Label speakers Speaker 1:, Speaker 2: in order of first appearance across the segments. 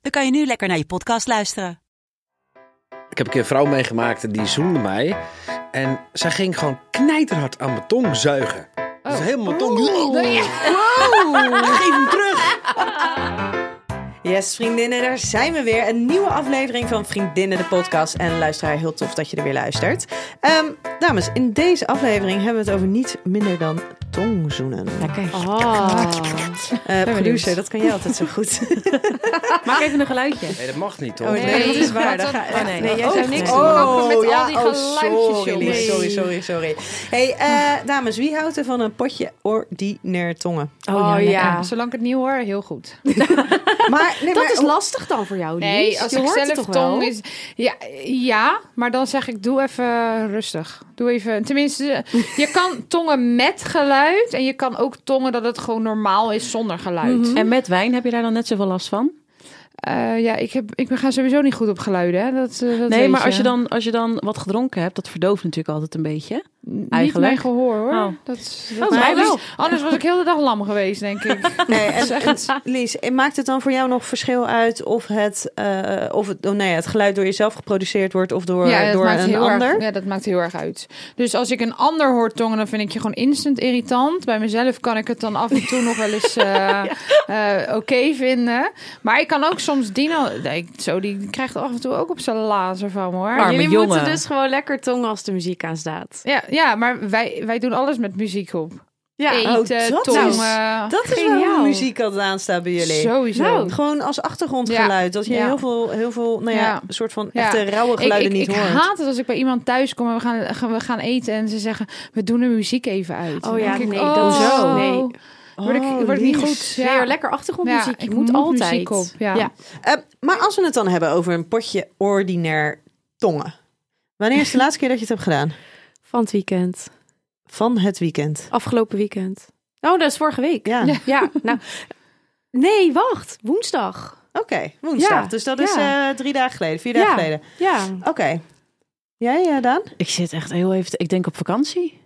Speaker 1: dan kan je nu lekker naar je podcast luisteren.
Speaker 2: Ik heb een keer een vrouw meegemaakt die zoende mij. En zij ging gewoon knijterhard aan mijn tong zuigen. Dus helemaal mijn tong. Geef hem terug.
Speaker 3: Yes, vriendinnen, daar zijn we weer. Een nieuwe aflevering van Vriendinnen, de podcast. En luisteraar, heel tof dat je er weer luistert. Ehm, dames, in deze aflevering hebben we het over niets minder dan tongzoenen.
Speaker 4: Lekker. Oh.
Speaker 3: Eh producer,
Speaker 4: benieuwd.
Speaker 3: dat kan jij altijd zo goed.
Speaker 4: Maak even een geluidje.
Speaker 2: Nee, dat mag niet, toch?
Speaker 3: Oh, nee,
Speaker 4: Nee,
Speaker 3: dat is waar.
Speaker 4: dat-
Speaker 3: Daar ga-
Speaker 4: oh, nee.
Speaker 3: jij
Speaker 4: Oh,
Speaker 3: zou
Speaker 4: nee.
Speaker 3: niks
Speaker 4: Oh,
Speaker 3: maken met
Speaker 4: ja,
Speaker 3: al die
Speaker 4: oh,
Speaker 3: geluidjes,
Speaker 4: sorry,
Speaker 3: jongens.
Speaker 4: Lies.
Speaker 3: Sorry, sorry, sorry. hey, eh, dames, wie houdt er van een potje ordinair tongen?
Speaker 4: Oh,
Speaker 5: lekker.
Speaker 4: ja.
Speaker 5: Zolang ik het niet hoor, heel goed.
Speaker 3: Maar, nee,
Speaker 4: Oh, Dat
Speaker 3: maar-
Speaker 4: is lastig dan voor jou, Lies.
Speaker 5: Nee, als
Speaker 4: je
Speaker 5: ik
Speaker 4: hoort het
Speaker 5: zelf
Speaker 4: toch
Speaker 5: tong
Speaker 4: wel?
Speaker 5: is... Ja, ja, maar dan zeg ik doe even rustig. Doe even... Tenminste, je kan tongen met geluid. En je kan ook tongen dat het gewoon normaal is zonder geluid.
Speaker 4: En met wijn heb je daar dan net zoveel last van?
Speaker 5: Eh, ja, ik, heb, ik ga sowieso niet goed op geluiden. Hè. Dat, eh, dat
Speaker 4: nee,
Speaker 5: weet
Speaker 4: maar als je, dan, als je dan wat gedronken hebt, dat verdooft natuurlijk altijd een beetje.
Speaker 5: Niet
Speaker 4: eigenlijk-
Speaker 5: mijn gehoor, hoor.
Speaker 4: Oh.
Speaker 5: Dat, is-
Speaker 4: Oh,
Speaker 5: dat
Speaker 4: mij
Speaker 5: anders,
Speaker 4: wel.
Speaker 5: anders was ik heel de dag lam geweest, denk ik.
Speaker 3: Nee, en, en Lies, en maakt het dan voor jou nog verschil uit of het, eh, of het, oh, nee, het geluid door jezelf geproduceerd wordt of door,
Speaker 5: dat
Speaker 3: door een
Speaker 5: heel
Speaker 3: ander?
Speaker 5: Erg, ja, dat maakt heel erg uit. Dus als ik een ander hoor tongen, dan vind ik je gewoon instant irritant. Bij mezelf kan ik het dan af en toe nog wel eens eh, eh, oké vinden. Maar ik kan ook soms Dino... Nee, zo, die krijgt af en toe ook op zijn lazer van, hoor.
Speaker 3: Oh.
Speaker 4: Arme
Speaker 6: Jullie
Speaker 4: jongen.
Speaker 6: moeten dus gewoon lekker tongen als de muziek aan staat.
Speaker 5: Ja, ja, maar wij, wij doen alles met muziek op.
Speaker 6: Ja.
Speaker 5: Eten,
Speaker 3: oh, dat is-
Speaker 5: tongen.
Speaker 3: Dat is
Speaker 6: Geniaal.
Speaker 3: waarom muziek altijd aanstaat bij jullie.
Speaker 5: Sowieso.
Speaker 6: Nou,
Speaker 3: Gewoon als achtergrondgeluid. Dat je
Speaker 5: Ja.
Speaker 3: heel veel, heel veel nou ja,
Speaker 5: Ja.
Speaker 3: soort van
Speaker 5: Ja.
Speaker 3: echte rauwe
Speaker 5: Ik,
Speaker 3: geluiden
Speaker 5: ik,
Speaker 3: niet
Speaker 5: ik
Speaker 3: hoort.
Speaker 5: haat het als ik bij iemand thuis kom en we gaan, gaan- we gaan eten en ze zeggen, we doen de muziek even uit.
Speaker 6: Oh
Speaker 5: Dan
Speaker 6: ja,
Speaker 5: denk ik,
Speaker 6: nee, dat
Speaker 5: oh,
Speaker 6: zo. Nee.
Speaker 5: Word ik,
Speaker 3: Oh,
Speaker 5: word ik niet
Speaker 3: Lies.
Speaker 5: goed.
Speaker 6: Nee, hoor, lekker achtergrondmuziek.
Speaker 5: Ja, ik
Speaker 6: je moet,
Speaker 5: moet
Speaker 6: altijd.
Speaker 5: muziek op, ja.
Speaker 3: Eh, maar als we het dan hebben over een potje ordinair tongen. Wanneer is de laatste keer dat je het hebt gedaan?
Speaker 6: Van het weekend.
Speaker 3: Van het weekend.
Speaker 6: Afgelopen weekend. Oh, dat is vorige week.
Speaker 3: Ja, oké.
Speaker 6: Ja, nou. Nee, wacht. Woensdag.
Speaker 3: Woensdag.
Speaker 6: Ja.
Speaker 3: Dus dat is
Speaker 6: Ja.
Speaker 3: eh, drie dagen geleden, vier
Speaker 6: Ja.
Speaker 3: dagen geleden.
Speaker 6: Ja.
Speaker 3: Oké. Jij, eh, Daan?
Speaker 4: Ik zit echt heel even... te- Ik denk op vakantie.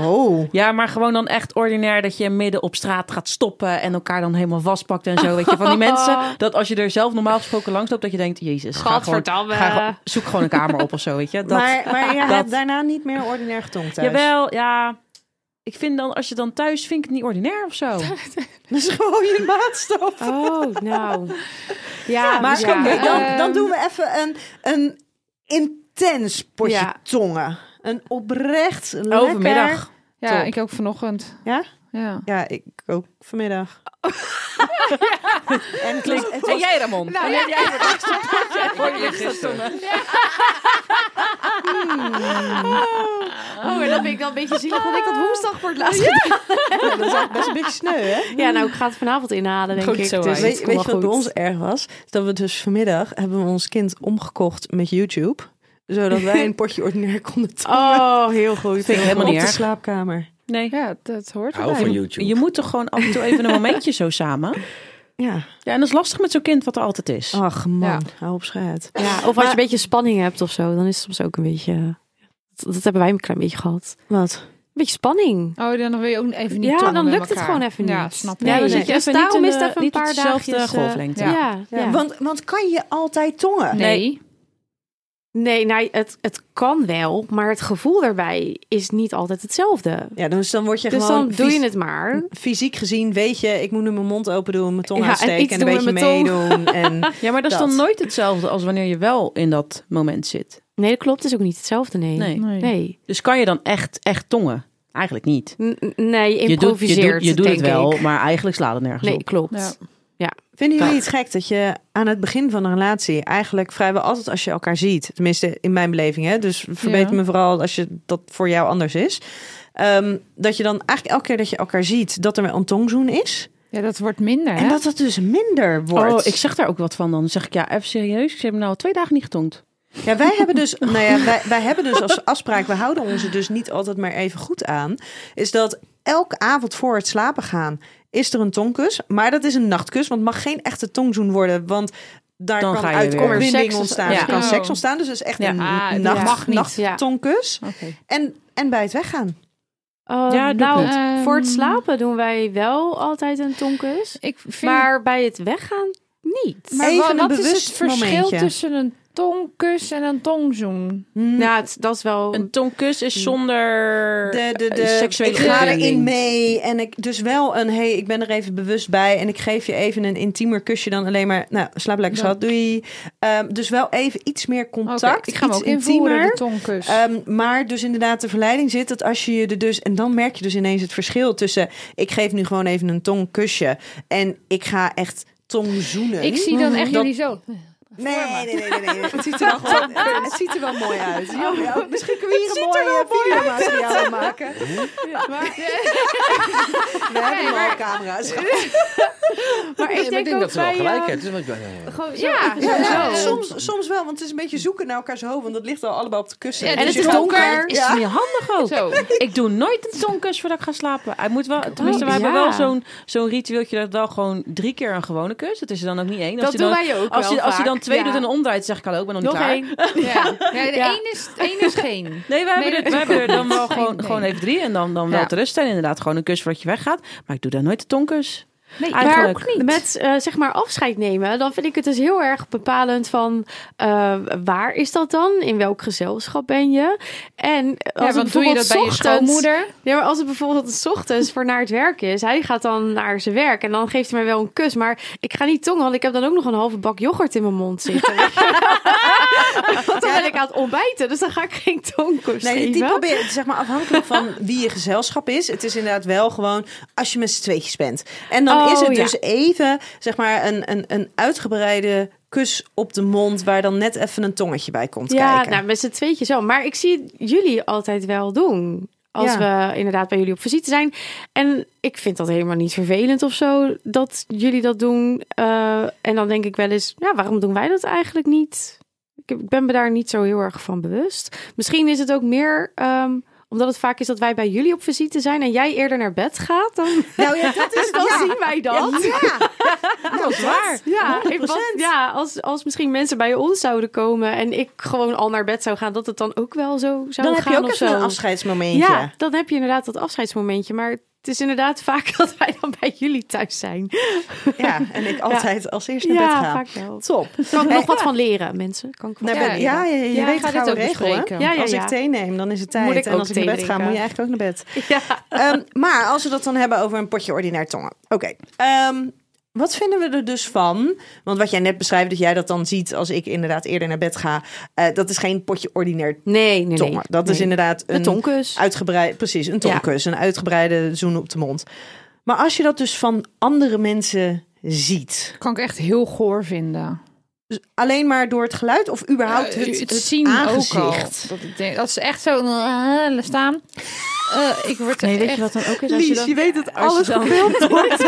Speaker 3: Oh.
Speaker 4: Ja, maar gewoon dan echt ordinair dat je midden op straat gaat stoppen... en elkaar dan helemaal vastpakt en zo. Weet je, van die mensen... dat als je er zelf normaal gesproken langs loopt... dat je denkt, jezus, ga gewoon,
Speaker 6: Gadverdamme.
Speaker 4: ga gewoon- zoek gewoon een kamer op of zo, weet je. Dat,
Speaker 3: maar maar je
Speaker 4: dat-
Speaker 3: hebt daarna niet meer ordinair getongd thuis.
Speaker 4: Jawel, ja. Ik vind dan, als je dan thuis... vind ik het niet ordinair of zo.
Speaker 3: Dat is gewoon je maatstaf.
Speaker 6: Oh, nou. Ja, dus
Speaker 3: maar
Speaker 6: ja.
Speaker 3: oké, dan,
Speaker 5: Ehm.
Speaker 3: dan doen we even een, een intens potje
Speaker 6: Ja.
Speaker 3: tongen. Een oprecht lekker...
Speaker 4: Overmiddag.
Speaker 5: Ja,
Speaker 3: Top.
Speaker 5: ik ook vanochtend.
Speaker 3: Ja?
Speaker 5: Ja.
Speaker 3: Ja, ik ook vanmiddag. en het was- het was-
Speaker 4: En jij, Ramon?
Speaker 5: Nou, ja,
Speaker 6: Oh, en dat vind ik dan een beetje zielig, want ik dat woensdag voor het laatst gedaan.
Speaker 3: dat is echt best een beetje sneu, hè?
Speaker 6: Ja, nou, ik ga het vanavond inhalen, denk
Speaker 4: Goed
Speaker 6: ik.
Speaker 4: zo,
Speaker 6: dus
Speaker 4: hè.
Speaker 3: Weet,
Speaker 6: het
Speaker 3: weet
Speaker 6: komt
Speaker 3: je wat
Speaker 6: wel
Speaker 3: bij
Speaker 6: goed.
Speaker 3: ons erg was? Dat we dus vanmiddag hebben we ons kind omgekocht met YouTube. Zodat wij een potje ordinair konden tongen.
Speaker 6: Oh, heel goed.
Speaker 4: Vind ik helemaal niet
Speaker 3: op de
Speaker 4: erg.
Speaker 3: slaapkamer.
Speaker 4: Nee.
Speaker 5: ja, dat hoort
Speaker 2: Hou
Speaker 5: erbij.
Speaker 2: van YouTube.
Speaker 4: Je moet toch gewoon af en toe even een momentje zo samen.
Speaker 3: Ja.
Speaker 4: Ja, en dat is lastig met zo'n kind wat er altijd is.
Speaker 3: Ach man,
Speaker 5: Ja.
Speaker 3: hou op schijt.
Speaker 6: Ja, of als je een beetje spanning hebt of zo, dan is het soms ook een beetje... Dat, dat hebben wij een klein beetje gehad.
Speaker 3: Wat?
Speaker 6: Een beetje spanning.
Speaker 5: Oh, dan wil je ook even niet
Speaker 6: Ja,
Speaker 5: tongen
Speaker 6: dan
Speaker 5: met
Speaker 6: lukt het
Speaker 5: elkaar.
Speaker 6: gewoon even niet.
Speaker 5: Ja, snap ik.
Speaker 6: Nee,
Speaker 3: Ja,
Speaker 6: dan
Speaker 3: nee.
Speaker 6: zit je
Speaker 4: Dus
Speaker 6: even
Speaker 4: daarom
Speaker 6: niet
Speaker 4: is
Speaker 6: in
Speaker 4: het
Speaker 6: de-
Speaker 4: even
Speaker 6: niet
Speaker 4: een paar
Speaker 6: hetzelfde
Speaker 4: dagjes, eh,
Speaker 6: golflengte.
Speaker 5: ja.
Speaker 6: Ja,
Speaker 3: Ja.
Speaker 6: ja.
Speaker 3: Want, want kan je altijd tongen?
Speaker 5: Nee.
Speaker 6: Nee, nou, het, het kan wel, maar het gevoel daarbij is niet altijd hetzelfde.
Speaker 3: Ja, dus dan word je
Speaker 6: Dus
Speaker 3: gewoon
Speaker 6: dan doe je
Speaker 3: fysi-
Speaker 6: het maar.
Speaker 3: fysiek gezien weet je, ik moet nu mijn mond open doen, mijn tong
Speaker 6: Ja, en
Speaker 3: uitsteken
Speaker 6: iets
Speaker 3: en een
Speaker 6: doen
Speaker 3: beetje
Speaker 6: met mijn tong.
Speaker 3: meedoen. En
Speaker 4: Ja, maar dat, is
Speaker 3: Dat.
Speaker 4: dan nooit hetzelfde als wanneer je wel in dat moment zit.
Speaker 6: Nee, dat klopt. Het is ook niet hetzelfde, nee.
Speaker 4: Nee.
Speaker 5: Nee.
Speaker 6: Nee,
Speaker 4: Dus kan je dan echt, echt tongen? Eigenlijk niet.
Speaker 6: N- n- nee je
Speaker 4: Je doet, je
Speaker 6: improviseert,
Speaker 4: doet, je doet het
Speaker 6: denk
Speaker 4: wel,
Speaker 6: ik.
Speaker 4: maar eigenlijk slaat het nergens
Speaker 6: Nee,
Speaker 4: op.
Speaker 6: klopt.
Speaker 5: Ja.
Speaker 3: vinden jullie
Speaker 6: Dat.
Speaker 3: het gek dat je aan het begin van een relatie eigenlijk vrijwel altijd als je elkaar ziet, tenminste in mijn beleving, hè, dus verbeter
Speaker 5: Ja.
Speaker 3: me vooral als je dat voor jou anders is, ehm, dat je dan eigenlijk elke keer dat je elkaar ziet, dat er wel een tongzoen is.
Speaker 5: Ja, dat wordt minder.
Speaker 3: En
Speaker 5: hè?
Speaker 3: dat dat dus minder wordt.
Speaker 4: Oh, ik zeg daar ook wat van dan. Dan zeg ik, ja, even serieus. Ik heb nou al twee dagen niet getongd.
Speaker 3: Ja, wij hebben dus, nou ja, wij, wij hebben dus als afspraak, we houden onze dus niet altijd maar even goed aan, is dat elke avond voor het slapen gaan is er een tongkus, maar dat is een nachtkus, want het mag geen echte tongzoen worden, want daar
Speaker 4: Dan
Speaker 3: kan
Speaker 4: ga je weer.
Speaker 6: Seks
Speaker 3: uitkombinding
Speaker 6: is-
Speaker 3: ontstaan,
Speaker 4: ja.
Speaker 3: er kan
Speaker 5: Oh.
Speaker 3: seks ontstaan, dus dat is echt
Speaker 4: Ja.
Speaker 3: een
Speaker 5: Ah,
Speaker 3: nacht,
Speaker 6: ja.
Speaker 5: Mag niet,
Speaker 6: ja.
Speaker 3: tongkus. En, en bij het weggaan.
Speaker 6: Oh,
Speaker 4: Ja, doe
Speaker 6: nou,
Speaker 5: het. Ehm,
Speaker 6: voor het slapen doen wij wel altijd een tonkus.
Speaker 5: Ik vind
Speaker 6: Maar bij het weggaan niet.
Speaker 5: Maar
Speaker 3: Even
Speaker 5: wa-
Speaker 3: een
Speaker 5: wat is
Speaker 3: bewust
Speaker 5: het verschil
Speaker 3: momentje.
Speaker 5: tussen een tongkus en een tongzoen?
Speaker 6: nou, het, dat is wel...
Speaker 4: Een tongkus is zonder
Speaker 3: de, de, de,
Speaker 4: eh, seksuele
Speaker 3: ik ga
Speaker 4: verleiding.
Speaker 3: erin mee. En ik, dus wel een, hey, ik ben er even bewust bij. En ik geef je even een intiemer kusje dan alleen maar, nou, slaap lekker schat, doei. Ehm, dus wel even iets meer contact,
Speaker 5: Oké, ik ga hem
Speaker 3: iets
Speaker 5: ook invoeren, de
Speaker 3: intiemer.
Speaker 5: tongkus.
Speaker 3: Ehm, maar dus inderdaad de verleiding zit dat als je je er dus... En dan merk je dus ineens het verschil tussen... ik geef nu gewoon even een tongkusje en ik ga echt tongzoenen.
Speaker 5: ik zie dan echt
Speaker 3: dat-
Speaker 5: jullie zo.
Speaker 3: Nee, nee, nee, nee, nee, nee. Het, ziet er wel gewoon, het ziet er wel mooi uit. Ja, ja, misschien kunnen we hier een mooi videomateriaal maken. We hebben al camera's.
Speaker 6: maar ik denk ook
Speaker 2: dat ze wel
Speaker 6: bij...
Speaker 2: gelijk
Speaker 6: eh,
Speaker 2: heeft. Dus wat-
Speaker 6: gewoon-
Speaker 5: Ja,
Speaker 6: zo,
Speaker 5: ja,
Speaker 3: Ja,
Speaker 6: zo.
Speaker 3: soms, soms wel, want het is een beetje zoeken naar elkaar zo, want dat ligt al allebei op de kussen.
Speaker 5: Ja,
Speaker 6: En
Speaker 5: Dus
Speaker 6: het is
Speaker 5: je
Speaker 6: donker.
Speaker 4: Het is
Speaker 3: Ja.
Speaker 4: niet handig ook.
Speaker 5: Zo.
Speaker 4: Ik doe nooit een tongkus voordat ik ga slapen. Hij moet wel, tenminste,
Speaker 3: Oh,
Speaker 4: we
Speaker 6: ja.
Speaker 4: hebben wel zo'n zo'n ritueeltje dat wel gewoon drie keer een gewone kus. Dat is er dan ook niet één. Als
Speaker 6: Dat
Speaker 4: je
Speaker 6: doen
Speaker 4: dan,
Speaker 6: wij ook
Speaker 4: als je,
Speaker 6: wel
Speaker 4: als je dan
Speaker 6: vaak,
Speaker 4: twee
Speaker 6: ja.
Speaker 4: doet en een omdraait, zeg ik hallo, ik ben nog niet
Speaker 6: Nog
Speaker 4: klaar.
Speaker 6: één.
Speaker 5: Ja. Ja, de
Speaker 6: Ja.
Speaker 5: één is, de één is geen.
Speaker 4: Nee, we hebben,
Speaker 5: Nee,
Speaker 4: er-
Speaker 5: dat-
Speaker 4: we hebben er dan wel gewoon,
Speaker 5: Nee.
Speaker 4: gewoon even drie. En dan, dan
Speaker 5: Ja.
Speaker 4: wel te rust zijn. Inderdaad, gewoon een kus voordat je weggaat. Maar ik doe daar nooit de tongkus.
Speaker 5: Nee,
Speaker 4: Eigenlijk.
Speaker 6: Maar met eh, zeg maar afscheid nemen, dan vind ik het dus heel erg bepalend van eh, waar is dat dan? In welk gezelschap ben je? En als
Speaker 5: Ja, want
Speaker 6: het
Speaker 5: doe je
Speaker 6: bijvoorbeeld
Speaker 5: dat bij je
Speaker 6: ochtends-
Speaker 5: schoonmoeder?
Speaker 6: Ja, maar als het bijvoorbeeld 's ochtends voor naar het werk is, hij gaat dan naar zijn werk en dan geeft hij mij wel een kus. Maar ik ga niet tongen, want ik heb dan ook nog een halve bak yoghurt in mijn mond zitten. want dan ben ik aan het ontbijten, dus dan ga ik geen tongkus
Speaker 3: Nee,
Speaker 6: geven.
Speaker 3: die probeer, zeg maar afhankelijk van wie je gezelschap is. Het is inderdaad wel gewoon als je met z'n tweetjes bent. En dan
Speaker 6: Oh,
Speaker 3: is het
Speaker 6: ja.
Speaker 3: dus even, zeg maar, een, een, een uitgebreide kus op de mond... waar dan net even een tongetje bij komt
Speaker 6: ja,
Speaker 3: kijken.
Speaker 6: nou, met z'n tweetjes wel. Maar ik zie jullie altijd wel doen. Als we inderdaad bij jullie op visite zijn. En ik vind dat helemaal niet vervelend of zo. Dat jullie dat doen. Eh, en dan denk ik wel eens, ja, waarom doen wij dat eigenlijk niet? Ik heb- Ik ben me daar niet zo heel erg van bewust. Misschien is het ook meer... ehm, omdat het vaak is dat wij bij jullie op visite zijn en jij eerder naar bed gaat, dan,
Speaker 3: Nou ja, dat is
Speaker 6: dan
Speaker 3: ja.
Speaker 6: zien wij dat.
Speaker 3: Ja, nou, dat waar.
Speaker 6: Ja, ik- want- ja als, als misschien mensen bij ons zouden komen en ik gewoon al naar bed zou gaan, dat het dan ook wel zo zou
Speaker 3: Dan heb
Speaker 6: gaan
Speaker 3: je ook
Speaker 6: of
Speaker 3: even
Speaker 6: zo.
Speaker 3: een afscheidsmomentje.
Speaker 6: ja, dan heb je inderdaad dat afscheidsmomentje. Maar het is inderdaad vaak dat wij dan bij jullie thuis zijn.
Speaker 3: Ja, en ik altijd als eerst naar
Speaker 6: ja,
Speaker 3: bed gaan.
Speaker 6: vaak wel.
Speaker 3: Top.
Speaker 6: Kan ik
Speaker 3: Eh,
Speaker 6: nog wat van leren, mensen? Kan ik wat
Speaker 3: Naar
Speaker 6: van
Speaker 5: Ja,
Speaker 3: bed.
Speaker 6: leren?
Speaker 3: Ja, ja, je
Speaker 5: Ja,
Speaker 3: weet
Speaker 5: ga
Speaker 3: het
Speaker 5: dit
Speaker 3: gouden
Speaker 5: ook
Speaker 3: regel, hè?
Speaker 5: bespreken.
Speaker 6: Ja, ja,
Speaker 3: Als
Speaker 6: ja.
Speaker 3: ik thee neem, dan is het tijd.
Speaker 6: Moet ik
Speaker 3: en
Speaker 6: ook
Speaker 3: als ik naar
Speaker 6: thee
Speaker 3: bed ga,
Speaker 6: drinken.
Speaker 3: moet je eigenlijk ook naar bed.
Speaker 6: Ja.
Speaker 3: Ehm, maar als we dat dan hebben over een potje ordinair tongen. Oké. ehm, wat vinden we er dus van? Want wat jij net beschrijft, dat jij dat dan ziet als ik inderdaad eerder naar bed ga. eh, dat is geen potje ordinair
Speaker 6: Nee, nee, nee.
Speaker 3: tongen. Dat is
Speaker 6: Nee.
Speaker 3: inderdaad
Speaker 6: Een
Speaker 3: een,
Speaker 6: tonkus.
Speaker 3: uitgebreid, precies, een tongkus. Een uitgebreide zoen op de mond. Maar als je dat dus van andere mensen ziet.
Speaker 5: Kan ik echt heel goor vinden.
Speaker 3: Dus alleen maar door het geluid of überhaupt
Speaker 5: Eh,
Speaker 3: het, het,
Speaker 5: zien
Speaker 3: aangezicht?
Speaker 5: ook al. Dat, ik denk, dat ze echt zo eh, staan. Eh, ik word
Speaker 4: Nee,
Speaker 5: echt...
Speaker 4: weet je wat dan ook is? Dus Als je
Speaker 3: Lies,
Speaker 4: dan,
Speaker 3: je weet dat
Speaker 4: als je
Speaker 3: alles
Speaker 4: dan-
Speaker 3: gefilmd wordt.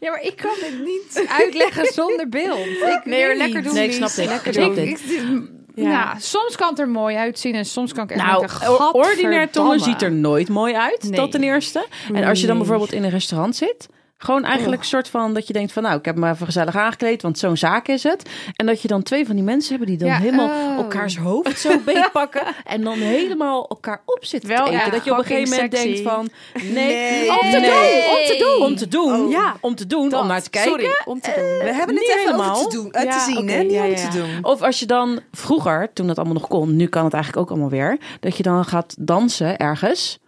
Speaker 5: Ja, maar ik kan het niet uitleggen zonder beeld. Ik
Speaker 6: Nee,
Speaker 5: weet
Speaker 6: hoor, lekker
Speaker 5: niet.
Speaker 6: doen.
Speaker 4: Nee, ik snap
Speaker 6: Lies.
Speaker 4: dit.
Speaker 6: Lekker
Speaker 4: Ik snap
Speaker 6: doen.
Speaker 5: Ik,
Speaker 4: dit.
Speaker 5: ik, ja.
Speaker 6: Ja.
Speaker 5: soms kan het er mooi uitzien en soms kan ik echt
Speaker 4: Nou,
Speaker 5: denken, gadverdamme.
Speaker 4: ordinair tongen ziet er nooit mooi uit,
Speaker 6: Nee.
Speaker 4: dat ten eerste. En als je dan bijvoorbeeld in een restaurant zit, gewoon eigenlijk een soort van dat je denkt van nou, ik heb me even gezellig aangekleed, want zo'n zaak is het. En dat je dan twee van die mensen hebben die dan
Speaker 5: Ja,
Speaker 4: helemaal
Speaker 5: oh.
Speaker 4: elkaars hoofd zo beetpakken en dan helemaal elkaar op zitten
Speaker 6: Wel,
Speaker 4: te eten.
Speaker 6: ja,
Speaker 4: dat je op een
Speaker 6: fucking
Speaker 4: gegeven moment
Speaker 6: sexy.
Speaker 4: denkt van nee,
Speaker 3: Nee.
Speaker 4: om te
Speaker 5: Nee.
Speaker 4: doen, om te doen, om te doen,
Speaker 3: Oh.
Speaker 4: ja, om te doen, om naar te kijken.
Speaker 6: Sorry, om te doen.
Speaker 3: We hebben het
Speaker 4: Niet
Speaker 3: even
Speaker 4: helemaal.
Speaker 3: over te, doen, eh,
Speaker 6: Ja,
Speaker 3: te zien,
Speaker 6: oké,
Speaker 3: hè? Niet
Speaker 6: ja,
Speaker 3: om
Speaker 6: ja,
Speaker 3: te
Speaker 6: ja.
Speaker 3: doen.
Speaker 4: Of als je dan vroeger, toen dat allemaal nog kon, nu kan het eigenlijk ook allemaal weer, dat je dan gaat dansen ergens.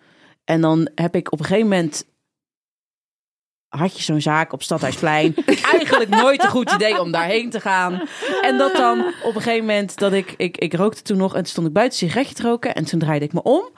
Speaker 4: En dan heb ik op een gegeven moment. Had je zo'n zaak op Stadhuisplein? Eigenlijk nooit een goed idee om daarheen te gaan. En dat dan op een gegeven moment dat ik, ik, ik rookte toen nog en toen stond ik buiten sigaretje te roken en toen draaide ik me om.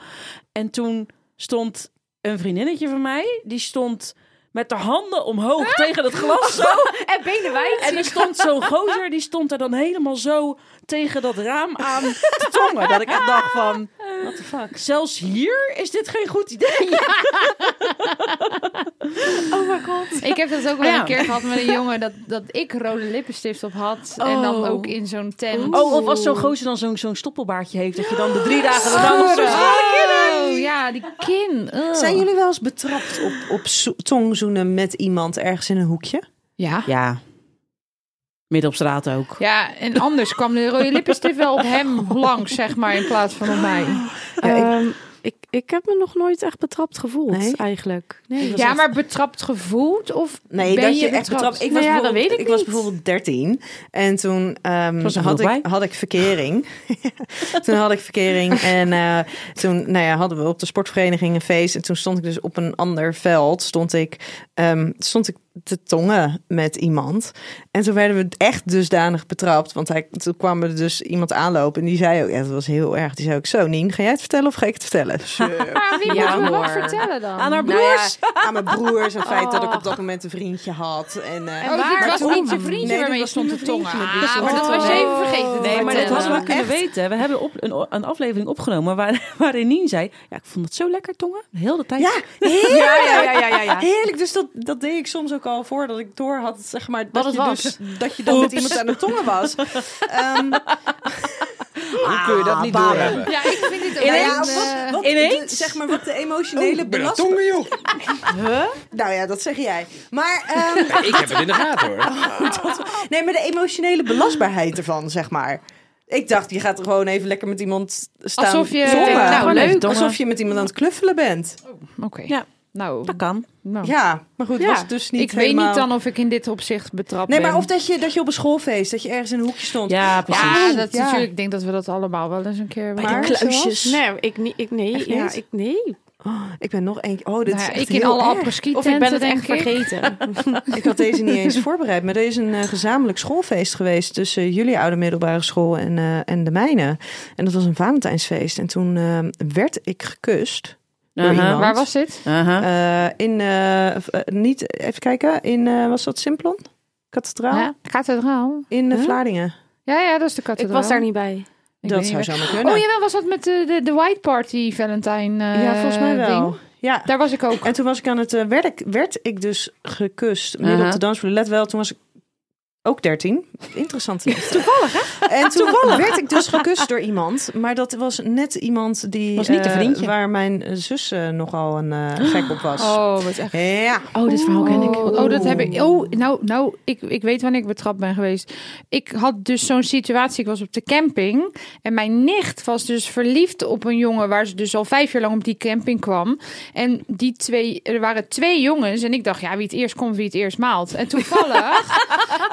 Speaker 4: En toen stond een vriendinnetje van mij, die stond met de handen omhoog tegen dat glas zo.
Speaker 5: Eh,
Speaker 6: En benen wijd.
Speaker 4: En er stond zo'n gozer, die stond er dan helemaal zo tegen dat raam aan te tongen. Dat ik echt dacht van, what the fuck. Zelfs hier is dit geen goed idee.
Speaker 6: Oh mijn god.
Speaker 5: Ik heb dat ook wel
Speaker 4: Ja.
Speaker 5: een keer gehad met een jongen dat, dat ik rode lippenstift op had. En
Speaker 4: Oh.
Speaker 5: dan ook in zo'n tent.
Speaker 4: Oh, of als zo'n gozer dan zo'n zo'n stoppelbaardje heeft, dat je dan de drie dagen de dag nog zo...
Speaker 5: Oh, ja, die kin. Oh. Ugh.
Speaker 3: Zijn jullie wel eens betrapt op, op zo- tongzoenen met iemand ergens in een hoekje?
Speaker 5: Ja.
Speaker 4: Ja. Midden op straat ook.
Speaker 5: Ja, en anders kwam de rode lippenstift wel op hem langs, zeg maar, in plaats van op mij.
Speaker 6: Ehm, ik, ik heb me nog nooit echt betrapt gevoeld,
Speaker 3: Nee?
Speaker 6: eigenlijk. Nee.
Speaker 5: Ja, maar betrapt gevoeld of
Speaker 3: Nee,
Speaker 5: ben
Speaker 3: dat je,
Speaker 5: je
Speaker 3: echt betrapt. Ik,
Speaker 6: Nou
Speaker 3: was
Speaker 6: ja, dat
Speaker 3: bijvoorbeeld-
Speaker 6: weet ik
Speaker 3: was
Speaker 6: niet.
Speaker 3: bijvoorbeeld 13 en toen ehm,
Speaker 4: Was er
Speaker 3: had,
Speaker 4: nog bij?
Speaker 3: ik, had ik verkering. toen had ik verkering en eh, toen nou ja, hadden we op de sportvereniging een feest. En toen stond ik dus op een ander veld, stond ik, ehm, stond ik te tongen met iemand. En toen werden we echt dusdanig betrapt, want hij, toen kwam er dus iemand aanlopen en die zei ook, ja, dat was heel erg. Die zei ook, zo Nien, ga jij het vertellen of ga ik het vertellen? Zo.
Speaker 5: Maar wie
Speaker 6: Ja,
Speaker 5: moet je wat
Speaker 6: hoor.
Speaker 5: vertellen dan?
Speaker 4: Aan
Speaker 3: Nou
Speaker 4: haar broers.
Speaker 3: ja, aan mijn broers. Het feit dat ik op dat moment een vriendje had. En, eh,
Speaker 5: Oh, dit
Speaker 6: Maar
Speaker 5: was
Speaker 6: toen-
Speaker 5: niet je vriendje
Speaker 3: Nee,
Speaker 5: waarmee je
Speaker 3: dat
Speaker 5: stond
Speaker 3: was
Speaker 5: te
Speaker 3: niet mijn
Speaker 5: tongen.
Speaker 3: vriendje, oh. dat
Speaker 5: Ah,
Speaker 3: is-
Speaker 5: maar dat was je even vergeten te
Speaker 4: Nee, oh, maar dat
Speaker 5: vertellen.
Speaker 4: hadden we
Speaker 3: Echt?
Speaker 4: kunnen weten. We hebben op een, een aflevering opgenomen waar, waarin Nien zei... Ja, ik vond het zo lekker tongen. Heel de tijd.
Speaker 3: Ja, heerlijk.
Speaker 6: Ja, ja, ja, ja, ja, ja.
Speaker 3: Heerlijk. Dus dat, dat deed ik soms ook al voordat ik door had, zeg maar, dat,
Speaker 6: het
Speaker 3: je,
Speaker 6: was.
Speaker 3: Dus, dat je dan met iemand aan de tongen was. Ehm,
Speaker 2: Hoe kun je dat niet doorhebben?
Speaker 5: Ja, ik vind dit ook
Speaker 3: nou ja,
Speaker 5: een,
Speaker 3: wat,
Speaker 5: eh,
Speaker 3: wat,
Speaker 4: Ineens?
Speaker 3: de- zeg maar wat de
Speaker 2: Oh,
Speaker 3: emotionele
Speaker 2: ik ben aan het
Speaker 3: belasting...
Speaker 2: tongen, joh.
Speaker 3: Nou ja, dat zeg jij. Maar, ehm,
Speaker 2: Ja, ik heb het in de gaten, hoor.
Speaker 3: nee, maar de emotionele belastbaarheid ervan, zeg maar. Ik dacht, je gaat er gewoon even lekker met iemand staan
Speaker 5: Alsof je-
Speaker 3: tongen.
Speaker 5: Nou,
Speaker 3: Gewoon
Speaker 4: leuk.
Speaker 3: even Alsof je met iemand aan het kluffelen bent.
Speaker 5: eh, Oké.
Speaker 4: Ja.
Speaker 5: Nou,
Speaker 4: Dat kan.
Speaker 5: nou.
Speaker 3: Ja, maar goed, het
Speaker 6: Ja,
Speaker 3: was dus niet
Speaker 5: ik weet
Speaker 3: helemaal-
Speaker 5: niet dan of ik in dit opzicht betrapt
Speaker 3: Nee,
Speaker 5: ben.
Speaker 3: maar of dat je, dat je op een schoolfeest, dat je ergens in een hoekje stond.
Speaker 4: Ja, precies.
Speaker 5: Ja, dat
Speaker 3: Ja.
Speaker 5: natuurlijk. Ik denk dat we dat allemaal wel eens een keer.
Speaker 3: Maar-
Speaker 5: Maar,
Speaker 3: kluisjes.
Speaker 6: Nee, ik, niet- ik, nee,
Speaker 3: Echt
Speaker 6: ja,
Speaker 3: niet?
Speaker 6: ik, nee.
Speaker 3: Oh, ik ben nog één. Oh, dit
Speaker 5: Nou
Speaker 3: is
Speaker 5: ja,
Speaker 3: echt
Speaker 5: ik in
Speaker 3: heel
Speaker 5: alle
Speaker 3: erg.
Speaker 5: apres-ski
Speaker 6: Of ik ben
Speaker 5: tenten,
Speaker 6: het
Speaker 5: denk
Speaker 6: echt
Speaker 5: ik.
Speaker 6: vergeten.
Speaker 3: Ik had deze niet eens voorbereid, maar er is een eh, gezamenlijk schoolfeest geweest tussen jullie oude middelbare school en, eh, en de mijne. En dat was een Valentijnsfeest. En toen eh, werd ik gekust. door
Speaker 4: Aha.
Speaker 3: iemand.
Speaker 5: Waar was dit?
Speaker 4: Aha.
Speaker 3: Eh, in, eh, v- eh, niet, even kijken, in, eh, was dat Simplon? Kathedraal?
Speaker 5: Ja, kathedraal.
Speaker 3: In eh,
Speaker 5: Huh?
Speaker 3: Vlaardingen.
Speaker 5: Ja, ja, dat is de
Speaker 6: Ik
Speaker 5: kathedraal.
Speaker 6: was daar niet bij.
Speaker 5: Ik
Speaker 3: dat
Speaker 5: weet
Speaker 3: zou
Speaker 5: niet
Speaker 3: zomaar
Speaker 5: waar-
Speaker 3: kunnen.
Speaker 5: Oh, jawel, was dat met de, de, de White Party Valentijn eh,
Speaker 3: ja, volgens mij wel.
Speaker 5: ding?
Speaker 3: Ja.
Speaker 5: Daar was ik ook.
Speaker 3: En toen was ik aan het, eh, werd, ik, werd ik dus gekust midden
Speaker 4: Aha.
Speaker 3: op de dansvloer. Let wel, toen was ik ook 13. Interessant. Toevallig, hè? En toen werd ik dus gekust door iemand. Maar dat was net iemand die...
Speaker 4: Was niet de
Speaker 3: eh,
Speaker 4: vriendje.
Speaker 3: waar mijn eh, zus eh, nogal een eh, gek op was.
Speaker 5: Oh, wat echt.
Speaker 3: Ja.
Speaker 4: Oh, dit verhaal ken ik.
Speaker 5: Oh, oh, dat heb ik. Oh, nou, nou ik, ik weet wanneer ik betrapt ben geweest. Ik had dus zo'n situatie. Ik was op de camping. En mijn nicht was dus verliefd op een jongen. Waar ze dus al vijf jaar lang op die camping kwam. En die twee, er waren twee jongens. En ik dacht, ja, wie het eerst komt, wie het eerst maalt. En toevallig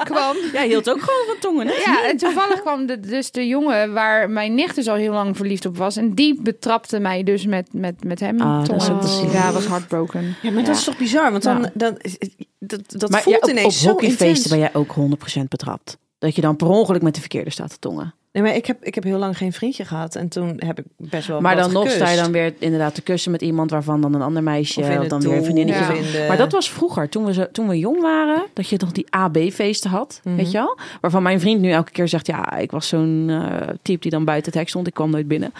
Speaker 5: kwam.
Speaker 4: Jij hield ook gewoon van tongen, hè?
Speaker 5: Ja, en toevallig kwam de, dus de jongen waar mijn nicht dus al heel lang verliefd op was. En die betrapte mij dus met, met, met hem.
Speaker 4: Ah, dat
Speaker 5: Tongen.
Speaker 4: is ook te
Speaker 5: ja, was heartbroken.
Speaker 3: Ja, maar dat is toch bizar? Want dan, dan, eh, dat, dat
Speaker 4: Maar
Speaker 3: voelt
Speaker 4: ja, op,
Speaker 3: ineens
Speaker 4: op
Speaker 3: zo
Speaker 4: hockeyfeesten
Speaker 3: intens.
Speaker 4: ben jij ook 100% betrapt. Dat je dan per ongeluk met de verkeerde staat te tongen.
Speaker 3: Nee, maar ik heb, ik heb heel lang geen vriendje gehad. En toen heb ik best wel
Speaker 4: maar
Speaker 3: wat
Speaker 4: dan nog sta je
Speaker 3: gekust.
Speaker 4: dan weer inderdaad te kussen met iemand waarvan dan een ander meisje...
Speaker 3: Of in
Speaker 4: of
Speaker 3: het
Speaker 4: dan weer een
Speaker 3: doel,
Speaker 4: vriendinnetje
Speaker 3: of
Speaker 5: van-
Speaker 3: in de-
Speaker 4: Maar dat was vroeger, toen we, zo, toen we jong waren, dat je nog die AB-feesten had,
Speaker 3: Mhm.
Speaker 4: weet je wel? Waarvan mijn vriend nu elke keer zegt, ja, ik was zo'n eh, type die dan buiten het hek stond, ik kwam nooit binnen.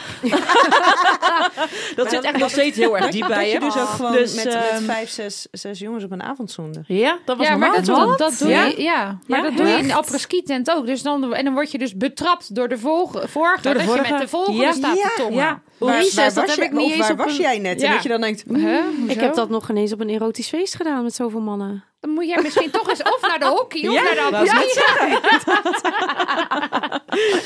Speaker 4: dat zit echt nog steeds heel erg diep bij
Speaker 3: dat
Speaker 4: je.
Speaker 3: je dus ook gewoon
Speaker 4: Dus,
Speaker 3: met,
Speaker 4: ehm,
Speaker 3: met vijf, zes, zes jongens op een avond zoende.
Speaker 4: Ja, dat was
Speaker 5: ja, maar
Speaker 4: normaal.
Speaker 5: dat, doe- dat doe
Speaker 4: Ja?
Speaker 5: je. Ja, maar
Speaker 4: Ja,
Speaker 5: dat doe je in
Speaker 4: echt?
Speaker 5: de apres-ski tent ook. Dus dan, en dan word je dus betrapt door de volg- vorige.
Speaker 4: Door de
Speaker 5: dat
Speaker 4: vorige.
Speaker 5: je met de volgende
Speaker 4: Ja.
Speaker 5: staat te
Speaker 3: Ja.
Speaker 5: tongen.
Speaker 4: Ja.
Speaker 6: Jezus,
Speaker 3: waar
Speaker 6: dat
Speaker 3: was
Speaker 6: heb
Speaker 3: je-
Speaker 6: ik niet
Speaker 3: of
Speaker 6: eens
Speaker 3: waar
Speaker 6: op
Speaker 3: was
Speaker 6: een-
Speaker 3: jij net? En
Speaker 5: Ja.
Speaker 3: dat je dan denkt,
Speaker 5: Hè?
Speaker 6: Ik
Speaker 5: Hoezo?
Speaker 6: heb dat nog ineens op een erotisch feest gedaan met zoveel mannen.
Speaker 5: Dan moet jij misschien toch eens of naar de hockey of
Speaker 4: Ja,
Speaker 5: naar de
Speaker 4: wou ik
Speaker 5: apres-ski.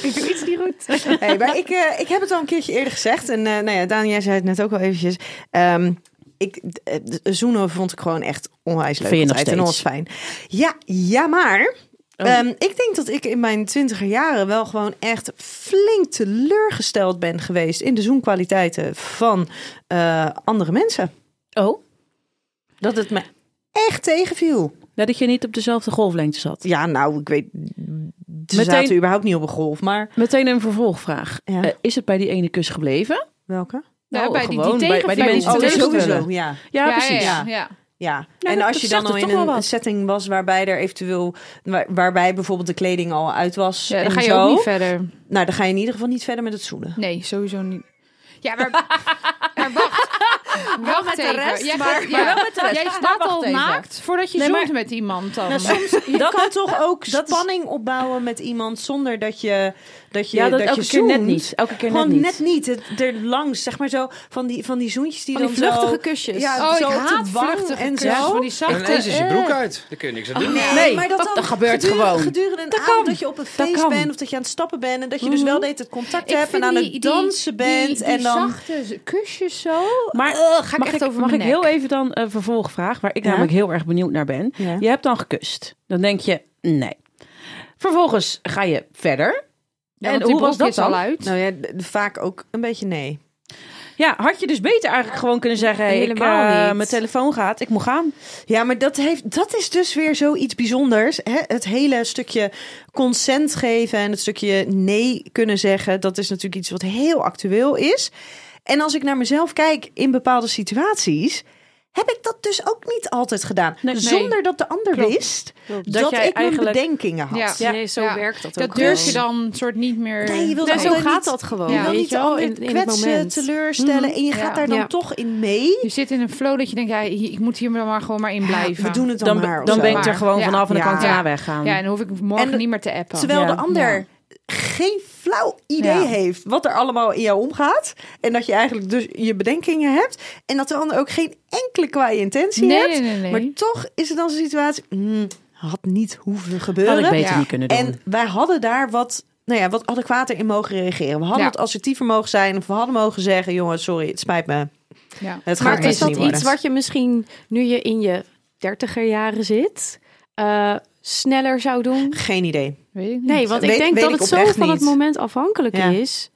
Speaker 6: Ik doe iets niet goed.
Speaker 3: Hey, maar ik, eh, ik heb het al een keertje eerder gezegd. En eh nou ja, Daan, jij zei het net ook al eventjes. Ehm, ik, eh, de zoenen vond ik gewoon echt onwijs leuk.
Speaker 4: Vind je nog
Speaker 3: altijd en onwijs
Speaker 4: steeds?
Speaker 3: fijn. Ja, ja maar...
Speaker 4: Oh.
Speaker 3: ehm, ik denk dat ik in mijn twintiger jaren wel gewoon echt flink teleurgesteld ben geweest... in de zoenkwaliteiten van eh, andere mensen.
Speaker 4: Oh,
Speaker 3: Dat het me echt tegenviel.
Speaker 4: Ja, dat je niet op dezelfde golflengte zat.
Speaker 3: Ja, nou, ik weet... Ze
Speaker 4: Meteen-
Speaker 3: zaten überhaupt niet op een golf, maar...
Speaker 4: Meteen een vervolgvraag.
Speaker 3: Ja.
Speaker 4: Eh, is het bij die ene kus gebleven?
Speaker 3: Welke?
Speaker 5: Ja,
Speaker 4: Nou,
Speaker 5: bij die- die
Speaker 4: gewoon, bij, bij die
Speaker 5: tegenvallers.
Speaker 4: mensen
Speaker 5: Oh,
Speaker 4: die
Speaker 5: sowieso,
Speaker 4: teleurstellen.
Speaker 3: ja.
Speaker 4: Ja,
Speaker 5: Ja,
Speaker 4: precies.
Speaker 5: Ja, ja.
Speaker 3: Ja,
Speaker 4: Nou,
Speaker 3: en
Speaker 4: dat-
Speaker 3: als
Speaker 4: dat
Speaker 3: je dan
Speaker 4: zegt
Speaker 3: al
Speaker 4: het
Speaker 3: in
Speaker 4: toch wel
Speaker 3: een
Speaker 4: wat.
Speaker 3: setting was waarbij er eventueel, waar- waarbij bijvoorbeeld de kleding al uit was,
Speaker 5: Ja, dan
Speaker 3: en
Speaker 5: ga je
Speaker 3: zo,
Speaker 5: ook niet verder.
Speaker 3: nou dan ga je in ieder geval niet verder met het zoenen.
Speaker 5: Nee, sowieso niet. Ja, maar, maar wacht. Wacht
Speaker 6: met de
Speaker 5: even.
Speaker 6: rest,
Speaker 5: jij,
Speaker 6: maar-
Speaker 5: gaat-
Speaker 4: maar
Speaker 5: ja,
Speaker 4: wel met de rest.
Speaker 5: Jij
Speaker 4: Maar
Speaker 5: staat
Speaker 4: wacht
Speaker 5: al
Speaker 4: even.
Speaker 5: naakt voordat je
Speaker 4: Nee, maar-
Speaker 5: zoent met iemand dan.
Speaker 3: Nou, soms je
Speaker 4: Dat-
Speaker 3: kan toch ook
Speaker 4: dat is-
Speaker 3: spanning opbouwen met iemand zonder dat je dat je
Speaker 4: Ja, dat,
Speaker 3: dat
Speaker 4: elke
Speaker 3: je
Speaker 4: keer net
Speaker 3: zoent.
Speaker 4: niet. Elke keer net
Speaker 3: Gewoon
Speaker 4: niet.
Speaker 3: net niet. Het, er langs, zeg maar zo, van die, van die zoentjes die
Speaker 6: Van die
Speaker 3: dan
Speaker 6: vluchtige
Speaker 3: zo...
Speaker 6: kusjes.
Speaker 3: Ja,
Speaker 5: oh,
Speaker 3: zo
Speaker 5: ik
Speaker 3: op de
Speaker 5: haat
Speaker 3: wang
Speaker 5: vluchtige
Speaker 3: en
Speaker 5: kusjes,
Speaker 3: zo.
Speaker 5: Van die
Speaker 2: En
Speaker 5: zachte,
Speaker 2: ineens is je
Speaker 5: eh.
Speaker 2: broek uit. Daar kun je niks aan doen.
Speaker 4: Nee,
Speaker 3: maar dat,
Speaker 4: dat-
Speaker 3: dan
Speaker 4: dat gebeurt
Speaker 3: gedurende-
Speaker 4: gewoon.
Speaker 3: Gedurende een
Speaker 4: Dat
Speaker 3: avond
Speaker 4: kan.
Speaker 3: dat je op een
Speaker 4: Dat
Speaker 3: feest
Speaker 4: kan.
Speaker 3: bent of dat je aan het stappen bent en dat je dus wel deed het contact
Speaker 5: Ik
Speaker 3: hebt en
Speaker 5: vind
Speaker 3: aan
Speaker 5: die-
Speaker 3: het
Speaker 5: die-
Speaker 3: dansen
Speaker 5: die-
Speaker 3: bent
Speaker 5: die
Speaker 3: en dan
Speaker 5: zachte kusjes zo.
Speaker 4: Maar
Speaker 5: ga ik
Speaker 4: mag,
Speaker 5: echt
Speaker 4: ik,
Speaker 5: over
Speaker 4: mag
Speaker 5: mijn
Speaker 4: ik heel
Speaker 5: nek.
Speaker 4: even dan een vervolgvraag, waar ik
Speaker 3: Ja?
Speaker 4: namelijk heel erg benieuwd naar ben.
Speaker 3: Ja.
Speaker 4: Je hebt dan gekust. Dan denk je, nee. Vervolgens ga je verder.
Speaker 5: Ja,
Speaker 4: en
Speaker 5: want die
Speaker 4: hoe was
Speaker 5: broek
Speaker 4: dat
Speaker 5: is al
Speaker 4: dan?
Speaker 5: uit.
Speaker 3: Nou ja, d- vaak ook een beetje nee.
Speaker 4: Ja, had je dus beter eigenlijk gewoon kunnen zeggen, hey, ik,
Speaker 6: Helemaal
Speaker 4: eh,
Speaker 6: niet.
Speaker 4: mijn telefoon gaat, ik moet gaan.
Speaker 3: Ja, maar dat, heeft, dat is dus weer zoiets bijzonders. Hè? Het hele stukje consent geven en het stukje nee kunnen zeggen, dat is natuurlijk iets wat heel actueel is. En als ik naar mezelf kijk in bepaalde situaties, heb ik dat dus ook niet altijd gedaan.
Speaker 4: Nee.
Speaker 3: Zonder dat de ander
Speaker 4: Klopt.
Speaker 3: wist
Speaker 6: Klopt.
Speaker 3: dat,
Speaker 4: Dat jij
Speaker 3: ik mijn
Speaker 4: eigenlijk-
Speaker 3: bedenkingen had.
Speaker 5: Ja.
Speaker 6: Ja, nee, zo
Speaker 5: ja.
Speaker 6: werkt dat ook.
Speaker 5: Dat durf je
Speaker 6: gewoon.
Speaker 5: dan soort niet meer...
Speaker 3: Nee, je wilt
Speaker 6: Nee,
Speaker 3: de
Speaker 6: zo
Speaker 3: ander
Speaker 6: gaat
Speaker 3: niet-
Speaker 6: dat gewoon.
Speaker 3: Je
Speaker 5: Ja.
Speaker 3: wil
Speaker 6: Weet
Speaker 3: niet
Speaker 6: je
Speaker 3: de
Speaker 6: wel,
Speaker 3: ander
Speaker 6: in, in het
Speaker 3: kwetsen,
Speaker 6: moment. Mhm.
Speaker 3: teleurstellen en je
Speaker 5: Ja.
Speaker 3: gaat daar dan
Speaker 6: Ja.
Speaker 3: toch in mee.
Speaker 5: Je zit in een flow dat je denkt, ja, hier- ik moet hier maar gewoon maar in blijven.
Speaker 3: We doen het dan,
Speaker 4: Dan,
Speaker 3: maar.
Speaker 4: ben-
Speaker 3: of
Speaker 4: dan
Speaker 3: zo.
Speaker 4: ben ik er
Speaker 5: Maar,
Speaker 4: gewoon
Speaker 5: ja.
Speaker 4: vanaf en dan kan ik
Speaker 5: Ja.
Speaker 4: daarna weggaan.
Speaker 5: Ja, en dan hoef ik morgen
Speaker 3: En-
Speaker 5: niet meer te appen.
Speaker 3: Terwijl
Speaker 4: Ja.
Speaker 3: de ander
Speaker 4: Ja.
Speaker 3: geen flauw idee
Speaker 5: Ja.
Speaker 3: heeft wat er allemaal in jou omgaat. En dat je eigenlijk dus je bedenkingen hebt. En dat de ander ook geen enkele kwaaie intentie
Speaker 5: Nee,
Speaker 3: heeft.
Speaker 5: nee, nee, nee.
Speaker 3: Maar toch is het dan zo'n situatie. mm, had niet hoeven
Speaker 4: Had ik
Speaker 3: gebeuren.
Speaker 4: beter
Speaker 5: Ja.
Speaker 4: niet kunnen doen.
Speaker 3: En wij hadden daar wat, nou ja, wat adequater in mogen reageren. We hadden
Speaker 5: Ja.
Speaker 3: wat assertiever mogen zijn. Of we hadden mogen zeggen: jongens, sorry, het spijt me.
Speaker 5: Ja.
Speaker 3: Het gaat
Speaker 6: Maar is
Speaker 3: best
Speaker 6: dat
Speaker 3: niet
Speaker 6: iets
Speaker 3: worden.
Speaker 6: wat je misschien nu je in je dertiger jaren zit, eh, sneller zou doen?
Speaker 3: Geen idee.
Speaker 5: Weet ik niet.
Speaker 6: Nee, want ik
Speaker 3: Weet-
Speaker 6: denk
Speaker 3: weet
Speaker 6: dat
Speaker 3: ik
Speaker 6: het zo
Speaker 3: oprecht
Speaker 6: van het
Speaker 3: niet.
Speaker 6: moment afhankelijk
Speaker 3: Ja.
Speaker 6: is.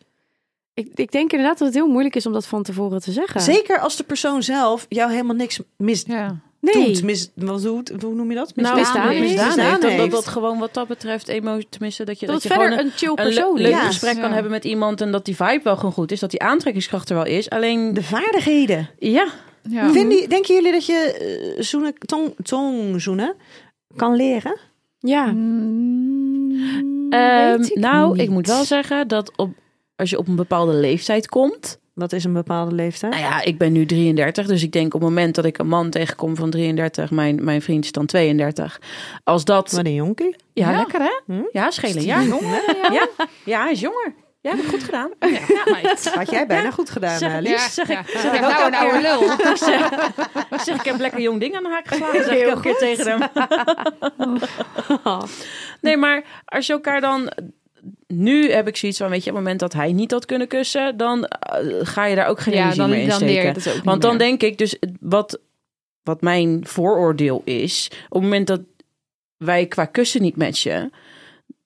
Speaker 6: Ik, ik denk inderdaad dat het heel moeilijk is om dat van tevoren te zeggen.
Speaker 3: Zeker als de persoon zelf jou helemaal niks mis
Speaker 5: Ja.
Speaker 6: Nee.
Speaker 3: doet. Mis, wat doet hoe noem je dat?
Speaker 4: Nou,
Speaker 6: misdaan
Speaker 4: misdaan
Speaker 6: heeft.
Speaker 4: misdaan
Speaker 3: Misdaan
Speaker 4: heeft. Dat, dat
Speaker 3: heeft.
Speaker 4: dat gewoon wat dat betreft, emo, tenminste, dat je,
Speaker 6: Dat
Speaker 4: dat
Speaker 6: het
Speaker 4: je
Speaker 6: verder
Speaker 4: gewoon
Speaker 6: een chill
Speaker 4: een le-
Speaker 6: persoon
Speaker 4: leuk
Speaker 3: Ja.
Speaker 6: is.
Speaker 4: gesprek kan
Speaker 5: Ja.
Speaker 4: hebben met iemand en dat die vibe wel gewoon goed is, dat die aantrekkingskracht er wel is. Alleen,
Speaker 3: De vaardigheden.
Speaker 4: ja,
Speaker 5: ja. Mhm.
Speaker 3: Vinden, je- denken jullie dat je eh, zoenen, tong, tong zoenen kan leren?
Speaker 6: Ja.
Speaker 5: Mm,
Speaker 4: Ehm,
Speaker 5: weet ik
Speaker 4: nou,
Speaker 5: niet.
Speaker 4: ik moet wel zeggen dat op, als je op een bepaalde leeftijd komt.
Speaker 3: Wat is een bepaalde leeftijd?
Speaker 4: Nou ja, ik ben nu 33, dus ik denk op het moment dat ik een man tegenkom van 33, mijn, mijn vriend is dan 32. Als dat.
Speaker 3: Wat een jonkie.
Speaker 4: ja,
Speaker 5: Ja.
Speaker 4: lekker hè?
Speaker 3: Hm?
Speaker 4: Ja, schelen. Ja,
Speaker 5: Jongen, ja.
Speaker 4: ja, ja, hij is jonger. Ja, heb ik goed gedaan.
Speaker 3: Had jij bijna goed gedaan,
Speaker 4: Zeg-
Speaker 3: eh, Lies.
Speaker 5: Ja,
Speaker 4: zeg
Speaker 5: ja.
Speaker 4: ik- zeg ik
Speaker 5: nou
Speaker 4: ook
Speaker 5: een oude lul.
Speaker 4: Ik zeg, ik zeg, ik heb lekker jong ding aan de haak geslagen. Zeg ik elke keer tegen hem. Nee, maar als je elkaar dan... Nu heb ik zoiets van, weet je, op het moment dat hij niet had kunnen kussen... dan eh, ga je daar ook geen
Speaker 5: Ja,
Speaker 4: energie meer
Speaker 5: dan,
Speaker 4: in
Speaker 5: dan leer je
Speaker 4: steken.
Speaker 5: dat ook niet
Speaker 4: Want dan
Speaker 5: meer.
Speaker 4: denk ik dus, het- wat, wat mijn vooroordeel is... op het moment dat wij qua kussen niet matchen...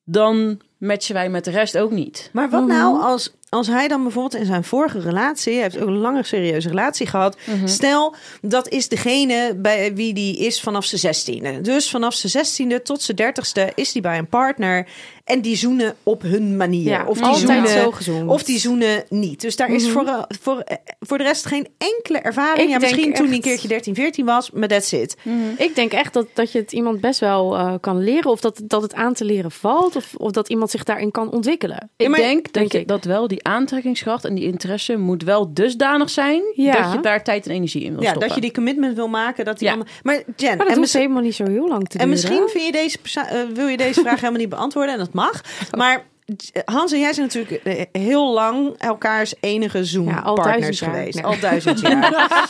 Speaker 4: dan matchen wij met de rest ook niet.
Speaker 3: Maar wat
Speaker 6: Mhm.
Speaker 3: nou als, als hij dan bijvoorbeeld in zijn vorige relatie... Hij heeft ook een lange serieuze relatie gehad. Stel, dat is degene bij wie die is vanaf zijn zestiende. Dus vanaf zijn zestiende tot zijn dertigste is die bij een partner. En die zoenen op hun manier.
Speaker 6: Ja,
Speaker 3: of die
Speaker 6: altijd
Speaker 3: zoenen,
Speaker 6: zo gezond.
Speaker 3: Of die zoenen niet. Dus daar is voor, voor, eh, voor de rest geen enkele ervaring.
Speaker 6: Mhm. Ik
Speaker 3: ja,
Speaker 6: denk
Speaker 3: misschien toen hij een
Speaker 6: echt-
Speaker 3: keertje 13, 14 was, maar that's it.
Speaker 6: Mhm. Ik denk echt dat, dat je het iemand best wel eh, kan leren. Of dat, dat het aan te leren valt. Of, of dat iemand zich daarin kan ontwikkelen.
Speaker 4: Ik
Speaker 3: Ja, maar-
Speaker 4: denk,
Speaker 6: denk
Speaker 4: dat, je,
Speaker 6: ik.
Speaker 4: dat wel die aantrekkingskracht en die interesse moet wel dusdanig zijn
Speaker 6: Ja.
Speaker 4: dat je daar tijd en energie in wil
Speaker 3: Ja,
Speaker 4: stoppen.
Speaker 3: dat je die commitment wil maken. Dat die
Speaker 4: Ja.
Speaker 3: ander- Maar Jen,
Speaker 6: Maar dat
Speaker 3: en,
Speaker 6: hoeft
Speaker 3: misschien,
Speaker 6: helemaal niet zo heel lang te duren.
Speaker 3: en misschien vind je deze, perso- eh, wil je deze vraag helemaal niet beantwoorden. En dat mag. Maar eh, Hans en jij zijn natuurlijk eh, heel lang elkaars enige
Speaker 6: Ja, al
Speaker 3: Zoom-partners
Speaker 6: duizend jaar.
Speaker 3: geweest.
Speaker 6: Nee.
Speaker 3: Al duizend jaar.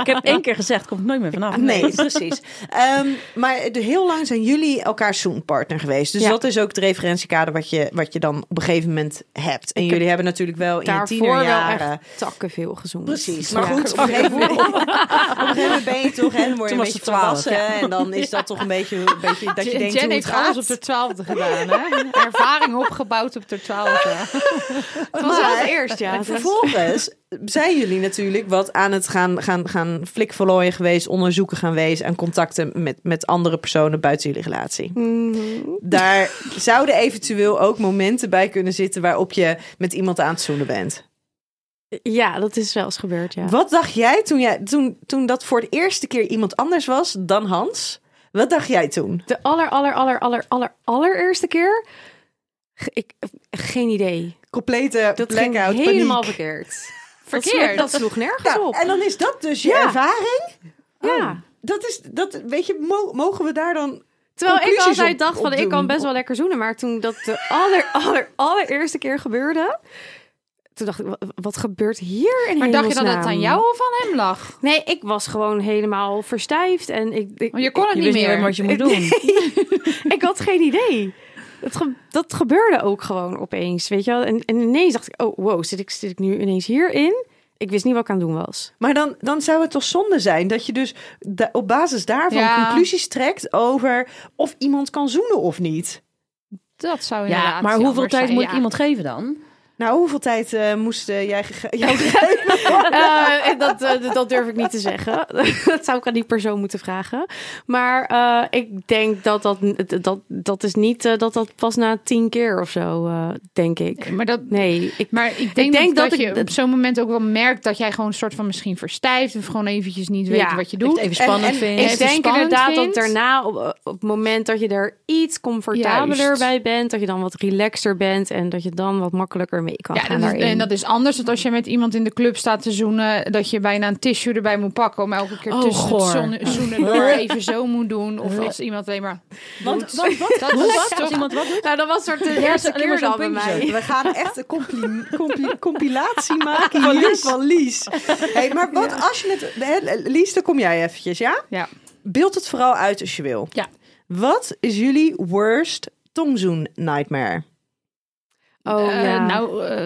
Speaker 4: Ik heb één keer gezegd, komt nooit meer vanaf.
Speaker 3: Nee, precies. Ehm, maar de- heel lang zijn jullie elkaars Zoom-partner geweest. Dus
Speaker 6: Ja.
Speaker 3: dat is ook het referentiekader wat je, wat je dan op een gegeven moment hebt. En jullie hebben natuurlijk wel in je
Speaker 6: daarvoor wel
Speaker 3: tienerjaren...
Speaker 6: echt takken veel gezond.
Speaker 3: Precies, maar
Speaker 6: Ja.
Speaker 3: goed, op een gegeven moment, op een gegeven moment ben je toch en word je
Speaker 4: Toen
Speaker 3: een
Speaker 4: was
Speaker 3: beetje
Speaker 4: het 12,
Speaker 3: volwassen en dan is dat toch een beetje, een beetje dat je
Speaker 5: Jen-
Speaker 3: denkt
Speaker 5: Jen
Speaker 3: hoe het
Speaker 5: heeft alles
Speaker 3: gaat.
Speaker 5: op de twaalfde gedaan, hè? Ervaring opgebouwd op de twaalfde.
Speaker 6: Het was wel het eerst, ja.
Speaker 3: En vervolgens zijn jullie natuurlijk wat aan het gaan, gaan, gaan flikverlooien geweest, onderzoeken gaan wezen en contacten met, met andere personen buiten jullie relatie.
Speaker 6: Mhm.
Speaker 3: Daar zouden eventueel ook momenten bij kunnen zitten waarop je met iemand aan het zoenen bent.
Speaker 6: Ja, dat is wel eens gebeurd, ja.
Speaker 3: Wat dacht jij toen, jij toen, toen dat voor de eerste keer iemand anders was dan Hans? Wat dacht jij toen?
Speaker 6: De aller, aller, aller, aller, aller, allereerste keer? Ge- Ik, geen idee.
Speaker 3: Complete
Speaker 6: Dat ging
Speaker 3: blackout,
Speaker 6: helemaal
Speaker 3: paniek.
Speaker 6: verkeerd. Dat sloeg,
Speaker 5: Verkeerd.
Speaker 6: dat sloeg nergens
Speaker 3: Nou,
Speaker 6: op.
Speaker 3: en dan is dat dus je
Speaker 6: Ja.
Speaker 3: ervaring? Oh,
Speaker 6: ja.
Speaker 3: Dat is, dat, weet je, mo- mogen we daar dan...
Speaker 6: Terwijl ik
Speaker 3: conclusies
Speaker 6: altijd
Speaker 3: op-
Speaker 6: dacht van,
Speaker 3: op
Speaker 6: ik kan
Speaker 3: doen.
Speaker 6: best wel lekker zoenen. Maar toen dat de aller, aller, allereerste keer gebeurde... Toen dacht ik, wa- wat gebeurt hier in
Speaker 5: Maar dacht je dan dat het
Speaker 6: hemelsnaam?
Speaker 5: aan jou of aan hem lag?
Speaker 6: Nee, ik was gewoon helemaal verstijfd. En ik, ik,
Speaker 5: Want je kon het
Speaker 4: Je
Speaker 5: niet
Speaker 4: wist niet
Speaker 5: meer.
Speaker 4: wat je moet doen.
Speaker 6: ik had geen idee. Dat, ge- dat gebeurde ook gewoon opeens, weet je wel. En, en ineens dacht ik, oh wow, zit ik, zit ik nu ineens hierin? Ik wist niet wat ik aan het doen was.
Speaker 3: Maar dan, dan zou het toch zonde zijn dat je dus da- op basis daarvan
Speaker 5: Ja.
Speaker 3: conclusies trekt over of iemand kan zoenen of niet.
Speaker 5: Dat zou
Speaker 4: Ja,
Speaker 5: inderdaad
Speaker 4: maar hoeveel
Speaker 5: jammer
Speaker 4: tijd
Speaker 5: zijn,
Speaker 4: moet
Speaker 5: ja.
Speaker 4: ik iemand geven dan?
Speaker 3: Nou, hoeveel tijd eh, moest eh, jij gege- jou gegeven worden?
Speaker 6: Eh, dat, eh, dat durf ik niet te zeggen. dat zou ik aan die persoon moeten vragen. Maar eh, ik denk dat dat, dat, dat is niet eh, dat dat pas na tien keer of zo, eh, denk ik.
Speaker 5: Maar dat...
Speaker 6: Nee, ik,
Speaker 5: Maar ik denk,
Speaker 6: denk
Speaker 5: dat,
Speaker 6: dat
Speaker 5: dat
Speaker 6: ik-
Speaker 5: je op zo'n moment ook wel merkt dat jij gewoon een soort van misschien verstijft of gewoon eventjes niet weet
Speaker 6: Ja,
Speaker 5: wat je
Speaker 4: Dat
Speaker 5: doet.
Speaker 4: je het even spannend
Speaker 3: en-
Speaker 4: vindt.
Speaker 6: ik
Speaker 5: even
Speaker 6: denk
Speaker 5: spannend
Speaker 6: inderdaad dat
Speaker 5: vindt.
Speaker 6: daarna, op, op het moment dat je er iets comfortabeler
Speaker 5: Juist.
Speaker 6: bij bent, dat je dan wat relaxter bent en dat je dan wat makkelijker mee kan
Speaker 5: Ja,
Speaker 6: gaan
Speaker 5: dat is,
Speaker 6: daarin.
Speaker 5: en dat is anders dan als je met iemand in de club staat te zoenen, dat je bijna een tissue erbij moet pakken om elke keer
Speaker 4: Oh,
Speaker 5: tussen
Speaker 4: goor.
Speaker 5: het zoenen, zoenen door even zo moet doen. Of als iemand alleen maar...
Speaker 3: Want, want, want-
Speaker 5: Dat is
Speaker 4: Wat?
Speaker 5: toch-
Speaker 4: Als iemand wat doet?
Speaker 6: Nou, dat was soort de
Speaker 4: eerste
Speaker 6: eerste
Speaker 4: alleen maar
Speaker 6: keer
Speaker 4: keer zo'n dan bij puntje
Speaker 6: dan bij mij.
Speaker 4: mij.
Speaker 3: we gaan echt een compli- compli- compilatie maken van Lies. Van Lies. Hey, maar wat als je het... hè, Lies, dan kom jij eventjes, ja?
Speaker 5: Ja.
Speaker 3: Beeld het vooral uit als je wil.
Speaker 4: Ja.
Speaker 3: Wat is jullie worst tongzoen nightmare?
Speaker 6: Oh
Speaker 5: Eh,
Speaker 6: ja.
Speaker 5: Nou, eh,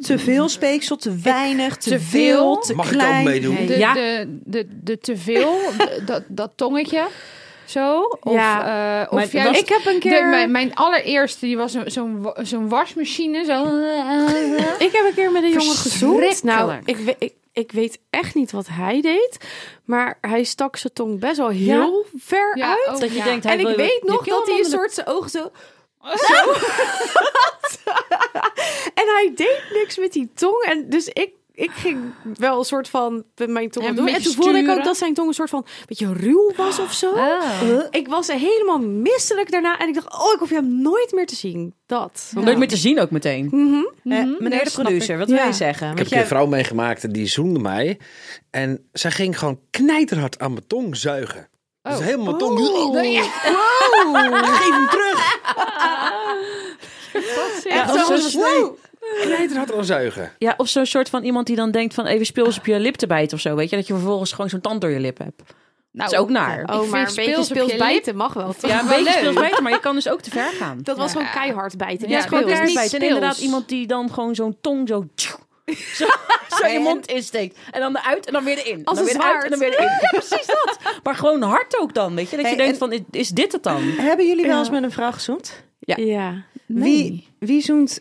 Speaker 3: Te veel speeksel, te weinig, te,
Speaker 5: Te
Speaker 3: veel,
Speaker 5: veel?
Speaker 3: te
Speaker 2: Mag ik
Speaker 3: klein.
Speaker 2: ook meedoen?
Speaker 6: Nee.
Speaker 5: de,
Speaker 4: Ja.
Speaker 5: de, de, de teveel, de- dat, dat tongetje. Zo. Of,
Speaker 6: Ja.
Speaker 5: ja. of
Speaker 4: Maar
Speaker 5: juist-
Speaker 4: was-
Speaker 6: ik heb een
Speaker 5: de-
Speaker 6: keer,
Speaker 5: mijn, mijn allereerste, die was zo- zo'n wa- zo'n wasmachine. Zo.
Speaker 6: ik heb een keer met een jongen gezoend. Nou,
Speaker 5: Verschrikkelijk.
Speaker 6: ik, we- ik, ik weet echt niet wat hij deed, maar hij stak zijn tong best wel heel ver
Speaker 5: Ja,
Speaker 6: uit.
Speaker 5: oh,
Speaker 4: Dat je
Speaker 5: ja.
Speaker 4: denkt, hij
Speaker 6: En ik
Speaker 4: wil-
Speaker 6: weet
Speaker 4: je
Speaker 6: nog
Speaker 4: keel
Speaker 6: dat hij een
Speaker 4: onder de-
Speaker 6: soort zijn ogen zo... zo. en hij deed niks met die tong. En dus ik, ik ging wel een soort van met mijn tong
Speaker 5: Ja,
Speaker 6: wat
Speaker 5: een
Speaker 6: doen. En
Speaker 5: beetje
Speaker 6: toen voelde ik ook
Speaker 5: sturen.
Speaker 6: dat zijn tong een soort van een beetje ruw was of zo.
Speaker 4: Ah.
Speaker 6: Eh, Ik was helemaal misselijk daarna. En ik dacht, oh, ik hoef je hem nooit meer te zien. Dat.
Speaker 4: Leuk meer te zien ook meteen.
Speaker 6: Mhm.
Speaker 3: Eh, meneer de
Speaker 5: snap
Speaker 3: producer, wat wil
Speaker 6: Ja.
Speaker 3: je
Speaker 2: Ik
Speaker 3: zeggen?
Speaker 2: heb
Speaker 3: Want
Speaker 2: een keer
Speaker 3: jij-
Speaker 2: een vrouw meegemaakt die zoende mij. En zij ging gewoon knijterhard aan mijn tong zuigen. Dus
Speaker 5: Oh.
Speaker 2: helemaal mijn tong. Geef hem terug!
Speaker 4: Ja, of zo'n-
Speaker 2: Knijterhard aan zuigen.
Speaker 4: ja, of zo'n soort van iemand die dan denkt van even speels op je lip te bijten of zo. Weet je, dat je vervolgens gewoon zo'n tand door je lip hebt.
Speaker 5: Nou,
Speaker 4: dat is ook naar.
Speaker 6: Oh,
Speaker 5: vind
Speaker 6: maar een beetje
Speaker 5: speels op
Speaker 6: speels
Speaker 5: je lip.
Speaker 6: bijten mag wel. toch?
Speaker 4: Ja, een beetje
Speaker 5: leuk.
Speaker 4: speels bijten, maar je kan dus ook te ver gaan.
Speaker 6: Dat was
Speaker 5: Ja.
Speaker 6: gewoon keihard bijten.
Speaker 4: Ja,
Speaker 6: Ja,
Speaker 5: Ja,
Speaker 4: gewoon
Speaker 5: dat is
Speaker 4: keihard
Speaker 5: niet
Speaker 4: bijten. En
Speaker 5: speels.
Speaker 4: inderdaad iemand die dan gewoon zo'n tong zo... Zo, zo je mond insteekt. En dan eruit en dan weer erin. En
Speaker 6: Als
Speaker 4: dan
Speaker 6: een
Speaker 4: weer eruit en dan
Speaker 6: zwaard.
Speaker 4: weer erin. Ja, precies dat. Maar gewoon hard ook dan, weet je. Dat je
Speaker 3: Hey,
Speaker 4: denkt
Speaker 3: en-
Speaker 4: van, is- is dit het dan?
Speaker 3: Hebben jullie wel
Speaker 6: Ja.
Speaker 3: eens met een vrouw gezoend?
Speaker 6: ja.
Speaker 3: Wie, wie zoent...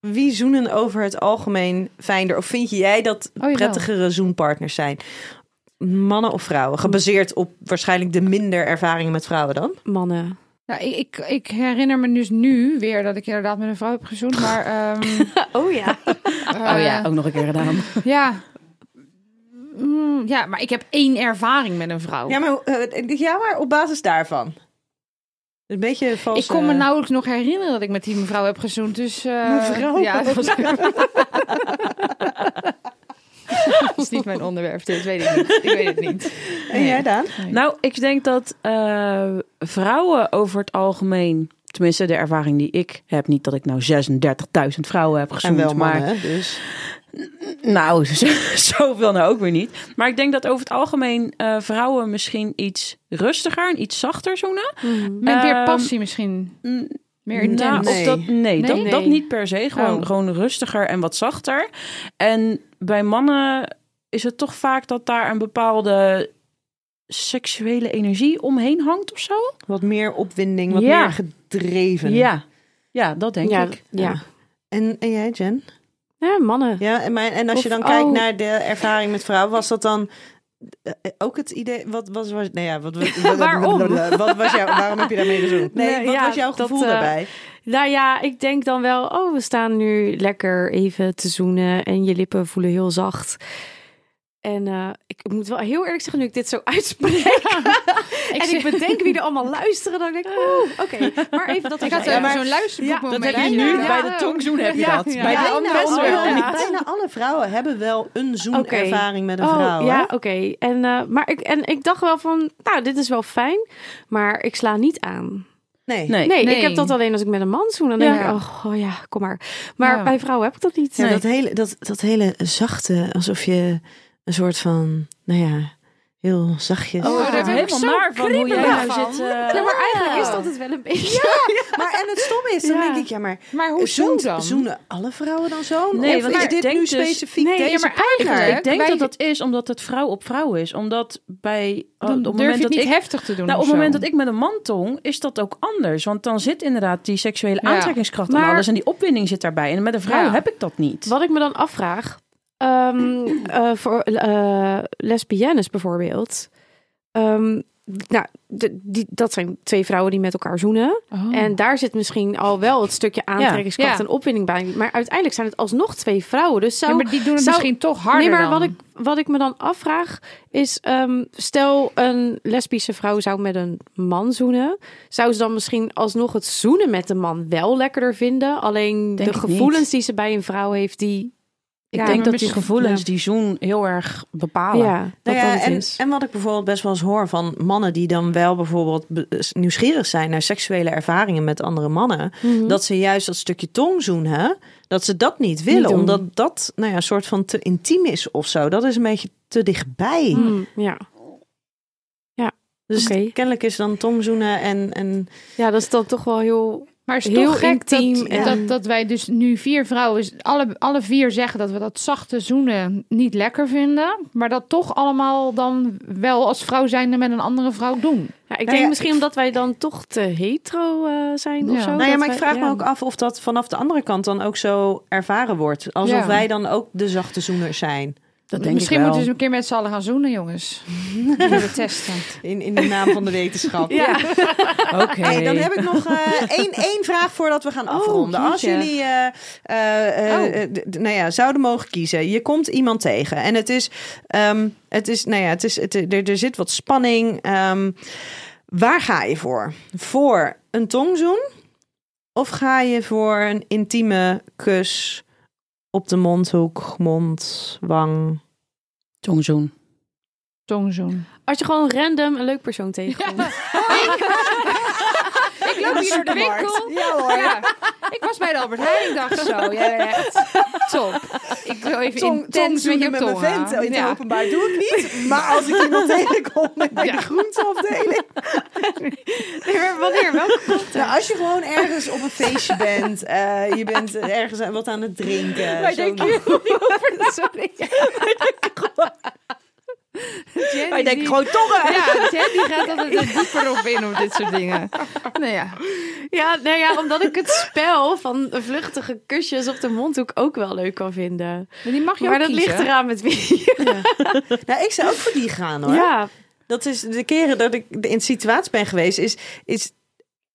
Speaker 3: Wie zoenen over het algemeen fijner? Of vind jij dat
Speaker 5: jawel.
Speaker 3: prettigere zoenpartners zijn? Mannen of vrouwen? Gebaseerd op waarschijnlijk de minder ervaringen met vrouwen dan?
Speaker 6: mannen.
Speaker 5: Nou, ik, ik, ik herinner me dus nu weer dat ik inderdaad met een vrouw heb gezoend. Maar, ehm,
Speaker 6: Oh ja.
Speaker 4: Oh
Speaker 5: eh,
Speaker 4: ja, ook nog een keer gedaan.
Speaker 5: Ja. Mm, ja, maar ik heb één ervaring met een vrouw.
Speaker 3: Ja, maar, eh, ja, maar op basis daarvan. Een beetje vals.
Speaker 5: ik kon me
Speaker 3: eh,
Speaker 5: nauwelijks nog herinneren dat ik met die mevrouw heb gezoend. Dus, eh,
Speaker 3: Mevrouw?
Speaker 5: Ja, dat was... Dat is niet mijn onderwerp, dit weet ik niet. Ik weet het niet.
Speaker 3: En jij Daan?
Speaker 4: Nou, ik denk dat eh, vrouwen over het algemeen, tenminste de ervaring die ik heb, niet dat ik nou 36.000 vrouwen heb
Speaker 3: En
Speaker 4: gezoend,
Speaker 3: wel
Speaker 4: maar
Speaker 3: mannen, dus.
Speaker 4: nou, z- zoveel nou ook weer niet. Maar ik denk dat over het algemeen eh, vrouwen misschien iets rustiger en iets zachter zoenen.
Speaker 6: Mm,
Speaker 5: Met meer
Speaker 4: Ehm,
Speaker 5: passie misschien.
Speaker 4: mm,
Speaker 5: Meer intens.
Speaker 4: Nou, of dat, nee, Dat,
Speaker 5: Nee?
Speaker 4: dat niet per se. Gewoon,
Speaker 5: Oh.
Speaker 4: gewoon rustiger en wat zachter. En bij mannen is het toch vaak dat daar een bepaalde seksuele energie omheen hangt of zo.
Speaker 3: Wat meer opwinding, wat
Speaker 4: Ja.
Speaker 3: meer gedreven.
Speaker 4: Ja, ja dat denk
Speaker 6: ja,
Speaker 4: ik.
Speaker 6: Ja.
Speaker 3: En, en jij, Jen?
Speaker 6: ja, mannen.
Speaker 3: Ja, en, mijn, en als je
Speaker 6: Of-
Speaker 3: dan kijkt
Speaker 6: oh.
Speaker 3: naar de ervaring met vrouwen, was dat dan eh, eh, ook het idee? Wat was, was nou ja, wat, wat-
Speaker 6: Waarom?
Speaker 3: Wat was jou, waarom heb je daarmee gezoend? Nee,
Speaker 6: Nee,
Speaker 3: wat
Speaker 6: ja,
Speaker 3: was jouw
Speaker 6: dat,
Speaker 3: gevoel
Speaker 6: eh,
Speaker 3: daarbij?
Speaker 6: Nou ja, ik denk dan wel, oh, we staan nu lekker even te zoenen en je lippen voelen heel zacht. En eh, ik moet wel heel eerlijk zeggen, nu ik dit zo uitspreek
Speaker 5: Ik,
Speaker 6: en
Speaker 5: zie-
Speaker 6: ik bedenk wie er allemaal luisteren, dan denk ik, oeh, oké, maar even dat
Speaker 5: ik
Speaker 6: terzijde.
Speaker 5: had even zo'n luisterboek
Speaker 6: Ja,
Speaker 4: Dat heb je nu bij de tongzoen heb je
Speaker 5: Ja,
Speaker 4: dat.
Speaker 5: ja.
Speaker 4: Bij de
Speaker 5: Bijna
Speaker 4: andere
Speaker 6: allemaal.
Speaker 4: wel.
Speaker 6: Ja.
Speaker 3: Bijna, bijna alle vrouwen hebben wel een zoenervaring met een
Speaker 6: Oh,
Speaker 3: vrouw.
Speaker 6: ja,
Speaker 3: hè?
Speaker 6: oké. En, eh, maar ik, en ik dacht wel van, nou, dit is wel fijn, maar ik sla niet aan.
Speaker 3: Nee.
Speaker 4: Nee.
Speaker 6: Nee,
Speaker 5: Nee.
Speaker 6: ik heb dat alleen als ik met een man zoen. Dan denk
Speaker 4: Ja.
Speaker 6: ik, oh, oh ja, kom maar. Maar
Speaker 5: Ja.
Speaker 6: bij vrouwen heb ik dat niet.
Speaker 3: Ja, dat, hele, dat, dat hele zachte, alsof je een soort van, nou ja, heel zachtjes.
Speaker 4: Oh, daar
Speaker 5: Ja.
Speaker 4: ben ik
Speaker 5: Helemaal
Speaker 4: zo naar van hoe jij nou
Speaker 5: kriebelig van.
Speaker 4: zit. eh,
Speaker 6: Ja, maar eigenlijk is dat het wel een beetje.
Speaker 3: Maar en het stomme is, dan
Speaker 6: Ja.
Speaker 3: denk ik, ja, maar
Speaker 5: Maar hoe zoen
Speaker 3: zoent-
Speaker 5: dan?
Speaker 3: zoenen alle vrouwen dan zo?
Speaker 4: Nee,
Speaker 3: of
Speaker 4: want
Speaker 3: is
Speaker 4: ik
Speaker 3: dit
Speaker 4: denk
Speaker 3: nu
Speaker 4: dus-
Speaker 3: specifiek
Speaker 6: Nee, ja,
Speaker 3: deze
Speaker 5: maar
Speaker 3: partner?
Speaker 5: eigenlijk-
Speaker 4: Ik denk
Speaker 5: Wij-
Speaker 4: dat dat is omdat het vrouw op vrouw is. Omdat bij... oh,
Speaker 5: Dan
Speaker 4: op het moment
Speaker 5: durf je Oh, het
Speaker 4: dat
Speaker 5: niet
Speaker 4: ik
Speaker 5: heftig te doen.
Speaker 4: Nou, op
Speaker 5: of
Speaker 4: het moment
Speaker 5: zo.
Speaker 4: dat ik met een man tong, is dat ook anders. Want dan zit inderdaad die seksuele
Speaker 5: Ja.
Speaker 4: aantrekkingskracht en
Speaker 6: Maar-
Speaker 4: alles. En die opwinding zit daarbij. En met een vrouw
Speaker 5: Ja.
Speaker 4: heb ik dat niet.
Speaker 6: Wat ik me dan afvraag, ehm, eh, voor eh, lesbiennes bijvoorbeeld. Ehm, nou, de- die, dat zijn twee vrouwen die met elkaar zoenen.
Speaker 5: Oh.
Speaker 6: En daar zit misschien al wel het stukje aantrekkingskracht
Speaker 5: Ja, ja.
Speaker 6: en opwinding bij. Maar uiteindelijk zijn het alsnog twee vrouwen. Dus zou
Speaker 5: ja, maar die doen het
Speaker 6: zou-
Speaker 5: misschien toch harder
Speaker 6: nee, maar
Speaker 5: dan.
Speaker 6: Wat, ik, wat ik me dan afvraag is... ehm, stel een lesbische vrouw zou met een man zoenen. Zou ze dan misschien alsnog het zoenen met de man wel lekkerder vinden? Alleen
Speaker 4: Denk
Speaker 6: de
Speaker 4: ik niet.
Speaker 6: gevoelens die ze bij een vrouw heeft, die...
Speaker 4: ik
Speaker 6: Ja,
Speaker 4: denk
Speaker 6: maar
Speaker 4: dat die
Speaker 6: misschien-
Speaker 4: gevoelens
Speaker 6: ja.
Speaker 4: die zoen heel erg bepalen.
Speaker 6: Ja,
Speaker 3: Nou
Speaker 4: dat
Speaker 3: ja,
Speaker 4: dat het
Speaker 3: en,
Speaker 4: is.
Speaker 3: en wat ik bijvoorbeeld best wel eens hoor van mannen die dan wel bijvoorbeeld be- nieuwsgierig zijn naar seksuele ervaringen met andere mannen.
Speaker 6: Mhm.
Speaker 3: Dat ze juist dat stukje tong zoenen, dat ze dat niet willen.
Speaker 6: doen.
Speaker 3: omdat dat nou ja, een soort van te intiem is of zo. Dat is een beetje te dichtbij.
Speaker 6: Hmm, ja.
Speaker 3: Dus
Speaker 6: oké.
Speaker 3: kennelijk is dan tongzoenen en, en
Speaker 6: ja, dat is dan toch wel heel...
Speaker 5: Maar het is
Speaker 6: Heel
Speaker 5: toch gek dat,
Speaker 6: intiem en-
Speaker 5: dat, dat wij dus nu vier vrouwen, alle, alle vier zeggen dat we dat zachte zoenen niet lekker vinden. Maar dat toch allemaal dan wel als vrouw zijnde met een andere vrouw doen.
Speaker 6: Ja, ik denk
Speaker 3: ja,
Speaker 6: misschien omdat wij dan toch te hetero eh, zijn
Speaker 5: Ja.
Speaker 6: of zo.
Speaker 3: Nou ja,
Speaker 6: dat
Speaker 3: maar ik
Speaker 6: wij-
Speaker 3: vraag me
Speaker 6: ja.
Speaker 3: ook af of dat vanaf de andere kant dan ook zo ervaren wordt. Alsof
Speaker 5: Ja.
Speaker 3: wij dan ook de zachte zoeners zijn.
Speaker 4: Dat denk
Speaker 5: Misschien
Speaker 4: ik wel.
Speaker 5: moeten ze een keer met z'n allen gaan zoenen, jongens. Even testen.
Speaker 3: In, in de naam van de wetenschap.
Speaker 6: Ja.
Speaker 4: Oké.
Speaker 3: Hey, dan heb ik nog eh, één, één vraag voordat we gaan afronden. Als
Speaker 6: jeetje.
Speaker 3: jullie eh, eh, eh,
Speaker 5: Oh.
Speaker 3: d- d- nou ja, zouden mogen kiezen, je komt iemand tegen en het is, ehm, het is, nou ja, het is, het, er, er zit wat spanning. ehm. waar ga je voor? Voor een tongzoen of ga je voor een intieme kus op de mondhoek, mond, wang?
Speaker 4: Tongzoen.
Speaker 5: Tongzoen.
Speaker 6: Als je gewoon random een leuk persoon tegenkomt.
Speaker 5: Ik loop hier door de winkel. Ja hoor. Ik was bij de Albert Heijn ik dacht zo. Ja, echt. Top. Ik wil even intens met Oh, je
Speaker 3: tongzoenen
Speaker 5: tong.
Speaker 3: mijn vent Oh, in het
Speaker 5: ja.
Speaker 3: openbaar doe ik niet. Maar als ik iemand tegenkom in de
Speaker 5: Ja.
Speaker 3: groenteafdeling,
Speaker 6: Wanneer? Welke?
Speaker 3: Nou, als je gewoon ergens op een feestje bent, eh, je bent ergens aan- wat aan het drinken.
Speaker 4: Wij
Speaker 3: zo'n-
Speaker 4: denken hier niet over na.
Speaker 5: Jenny,
Speaker 4: Wij denken
Speaker 5: die-
Speaker 4: gewoon tongen.
Speaker 5: Ja, Ted die gaat altijd er dieper op in op dit soort dingen. Nou ja.
Speaker 6: Ja, nou ja, omdat ik het spel van vluchtige kusjes op de mondhoek ook wel leuk kan vinden.
Speaker 5: Maar die mag je
Speaker 6: maar
Speaker 5: ook
Speaker 6: dat
Speaker 5: kiezen.
Speaker 6: ligt eraan met wie.
Speaker 3: Nou, ik zou ook voor die gaan hoor.
Speaker 6: Ja,
Speaker 3: Dat is de keren dat ik in de situatie ben geweest, is, is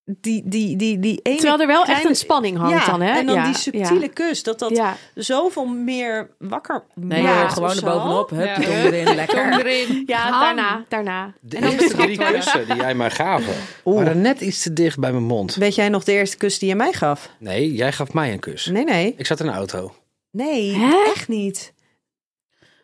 Speaker 3: die, die, die, die ene...
Speaker 6: terwijl er wel echt
Speaker 3: kleine-
Speaker 6: een spanning hangt
Speaker 3: ja,
Speaker 6: dan, hè?
Speaker 3: en dan
Speaker 6: Ja,
Speaker 3: die subtiele
Speaker 6: ja.
Speaker 3: kus, dat dat
Speaker 6: Ja.
Speaker 3: zoveel meer wakker
Speaker 4: Nee,
Speaker 3: maakt
Speaker 4: joh,
Speaker 3: of
Speaker 4: gewoon er
Speaker 3: zo.
Speaker 4: bovenop. Hup,
Speaker 5: Ja.
Speaker 4: tong erin. Lekker.
Speaker 5: Tong erin.
Speaker 6: Ja,
Speaker 5: Ham.
Speaker 6: daarna, daarna.
Speaker 2: De eerste drie kussen die jij mij gaven, waren net iets te dicht bij mijn mond.
Speaker 3: Weet jij nog de eerste kus die je mij gaf?
Speaker 2: Nee, jij gaf mij een kus.
Speaker 3: Nee, nee.
Speaker 2: Ik zat in een auto.
Speaker 3: Nee,
Speaker 6: Hè?
Speaker 3: echt niet.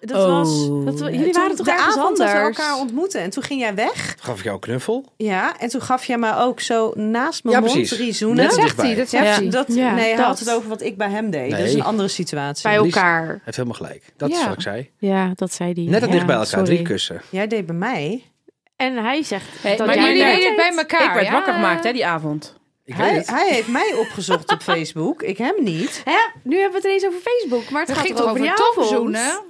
Speaker 3: Dat was...
Speaker 4: Oh.
Speaker 6: Dat, we- jullie waren
Speaker 3: Toen
Speaker 6: toch
Speaker 3: de
Speaker 6: ergens
Speaker 3: avond dat
Speaker 6: anders?
Speaker 3: we elkaar ontmoeten en toen ging jij weg.
Speaker 2: Toen gaf ik jou een knuffel.
Speaker 3: Ja, en toen gaf jij mij ook zo naast mijn
Speaker 2: Ja,
Speaker 3: mond
Speaker 2: precies.
Speaker 3: drie
Speaker 2: Net
Speaker 3: zoenen.
Speaker 5: Dat
Speaker 2: zo
Speaker 5: zegt
Speaker 2: dichtbij.
Speaker 5: hij, dat zegt
Speaker 4: Ja.
Speaker 5: hij.
Speaker 3: Dat,
Speaker 6: Ja,
Speaker 3: nee, hij
Speaker 6: dat.
Speaker 3: had het over wat ik bij hem deed. Dat is
Speaker 2: Nee.
Speaker 3: een andere situatie.
Speaker 6: bij elkaar.
Speaker 2: Hij heeft helemaal gelijk. Dat is
Speaker 5: Ja.
Speaker 2: wat ik zei.
Speaker 6: Ja, dat zei die.
Speaker 2: Net het
Speaker 6: ja,
Speaker 2: dicht bij elkaar.
Speaker 6: sorry.
Speaker 2: Drie kussen.
Speaker 3: Jij deed bij mij.
Speaker 6: En hij zegt dat
Speaker 5: maar
Speaker 6: jij
Speaker 5: jullie
Speaker 6: daar-
Speaker 5: deden het bij elkaar.
Speaker 4: Ik werd
Speaker 5: ja?
Speaker 4: wakker gemaakt hè, die avond.
Speaker 2: Ik weet
Speaker 3: Hij,
Speaker 2: het.
Speaker 3: hij heeft mij opgezocht op Facebook. Ik hem niet.
Speaker 6: Hè? Nu hebben we het ineens over Facebook, maar het
Speaker 5: Het
Speaker 6: gaat
Speaker 5: ging
Speaker 6: toch
Speaker 5: toch
Speaker 6: over die
Speaker 5: over
Speaker 6: avond?
Speaker 5: tongzoenen?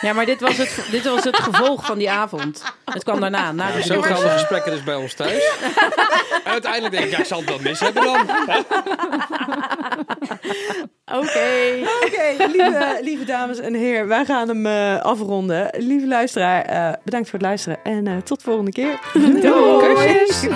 Speaker 4: Ja, maar dit was, het, dit was het gevolg van die avond. Het kwam daarna. Na de
Speaker 2: Zo gaan de gesprekken dus bij ons thuis. En uiteindelijk denk ik, ja, ik zal het wel mis hebben dan.
Speaker 6: Oké.
Speaker 3: Oké, lieve, lieve dames en heren. Wij gaan hem eh, afronden. Lieve luisteraar, eh, bedankt voor het luisteren. En eh, tot volgende keer.
Speaker 6: Doei.
Speaker 5: Kusjes.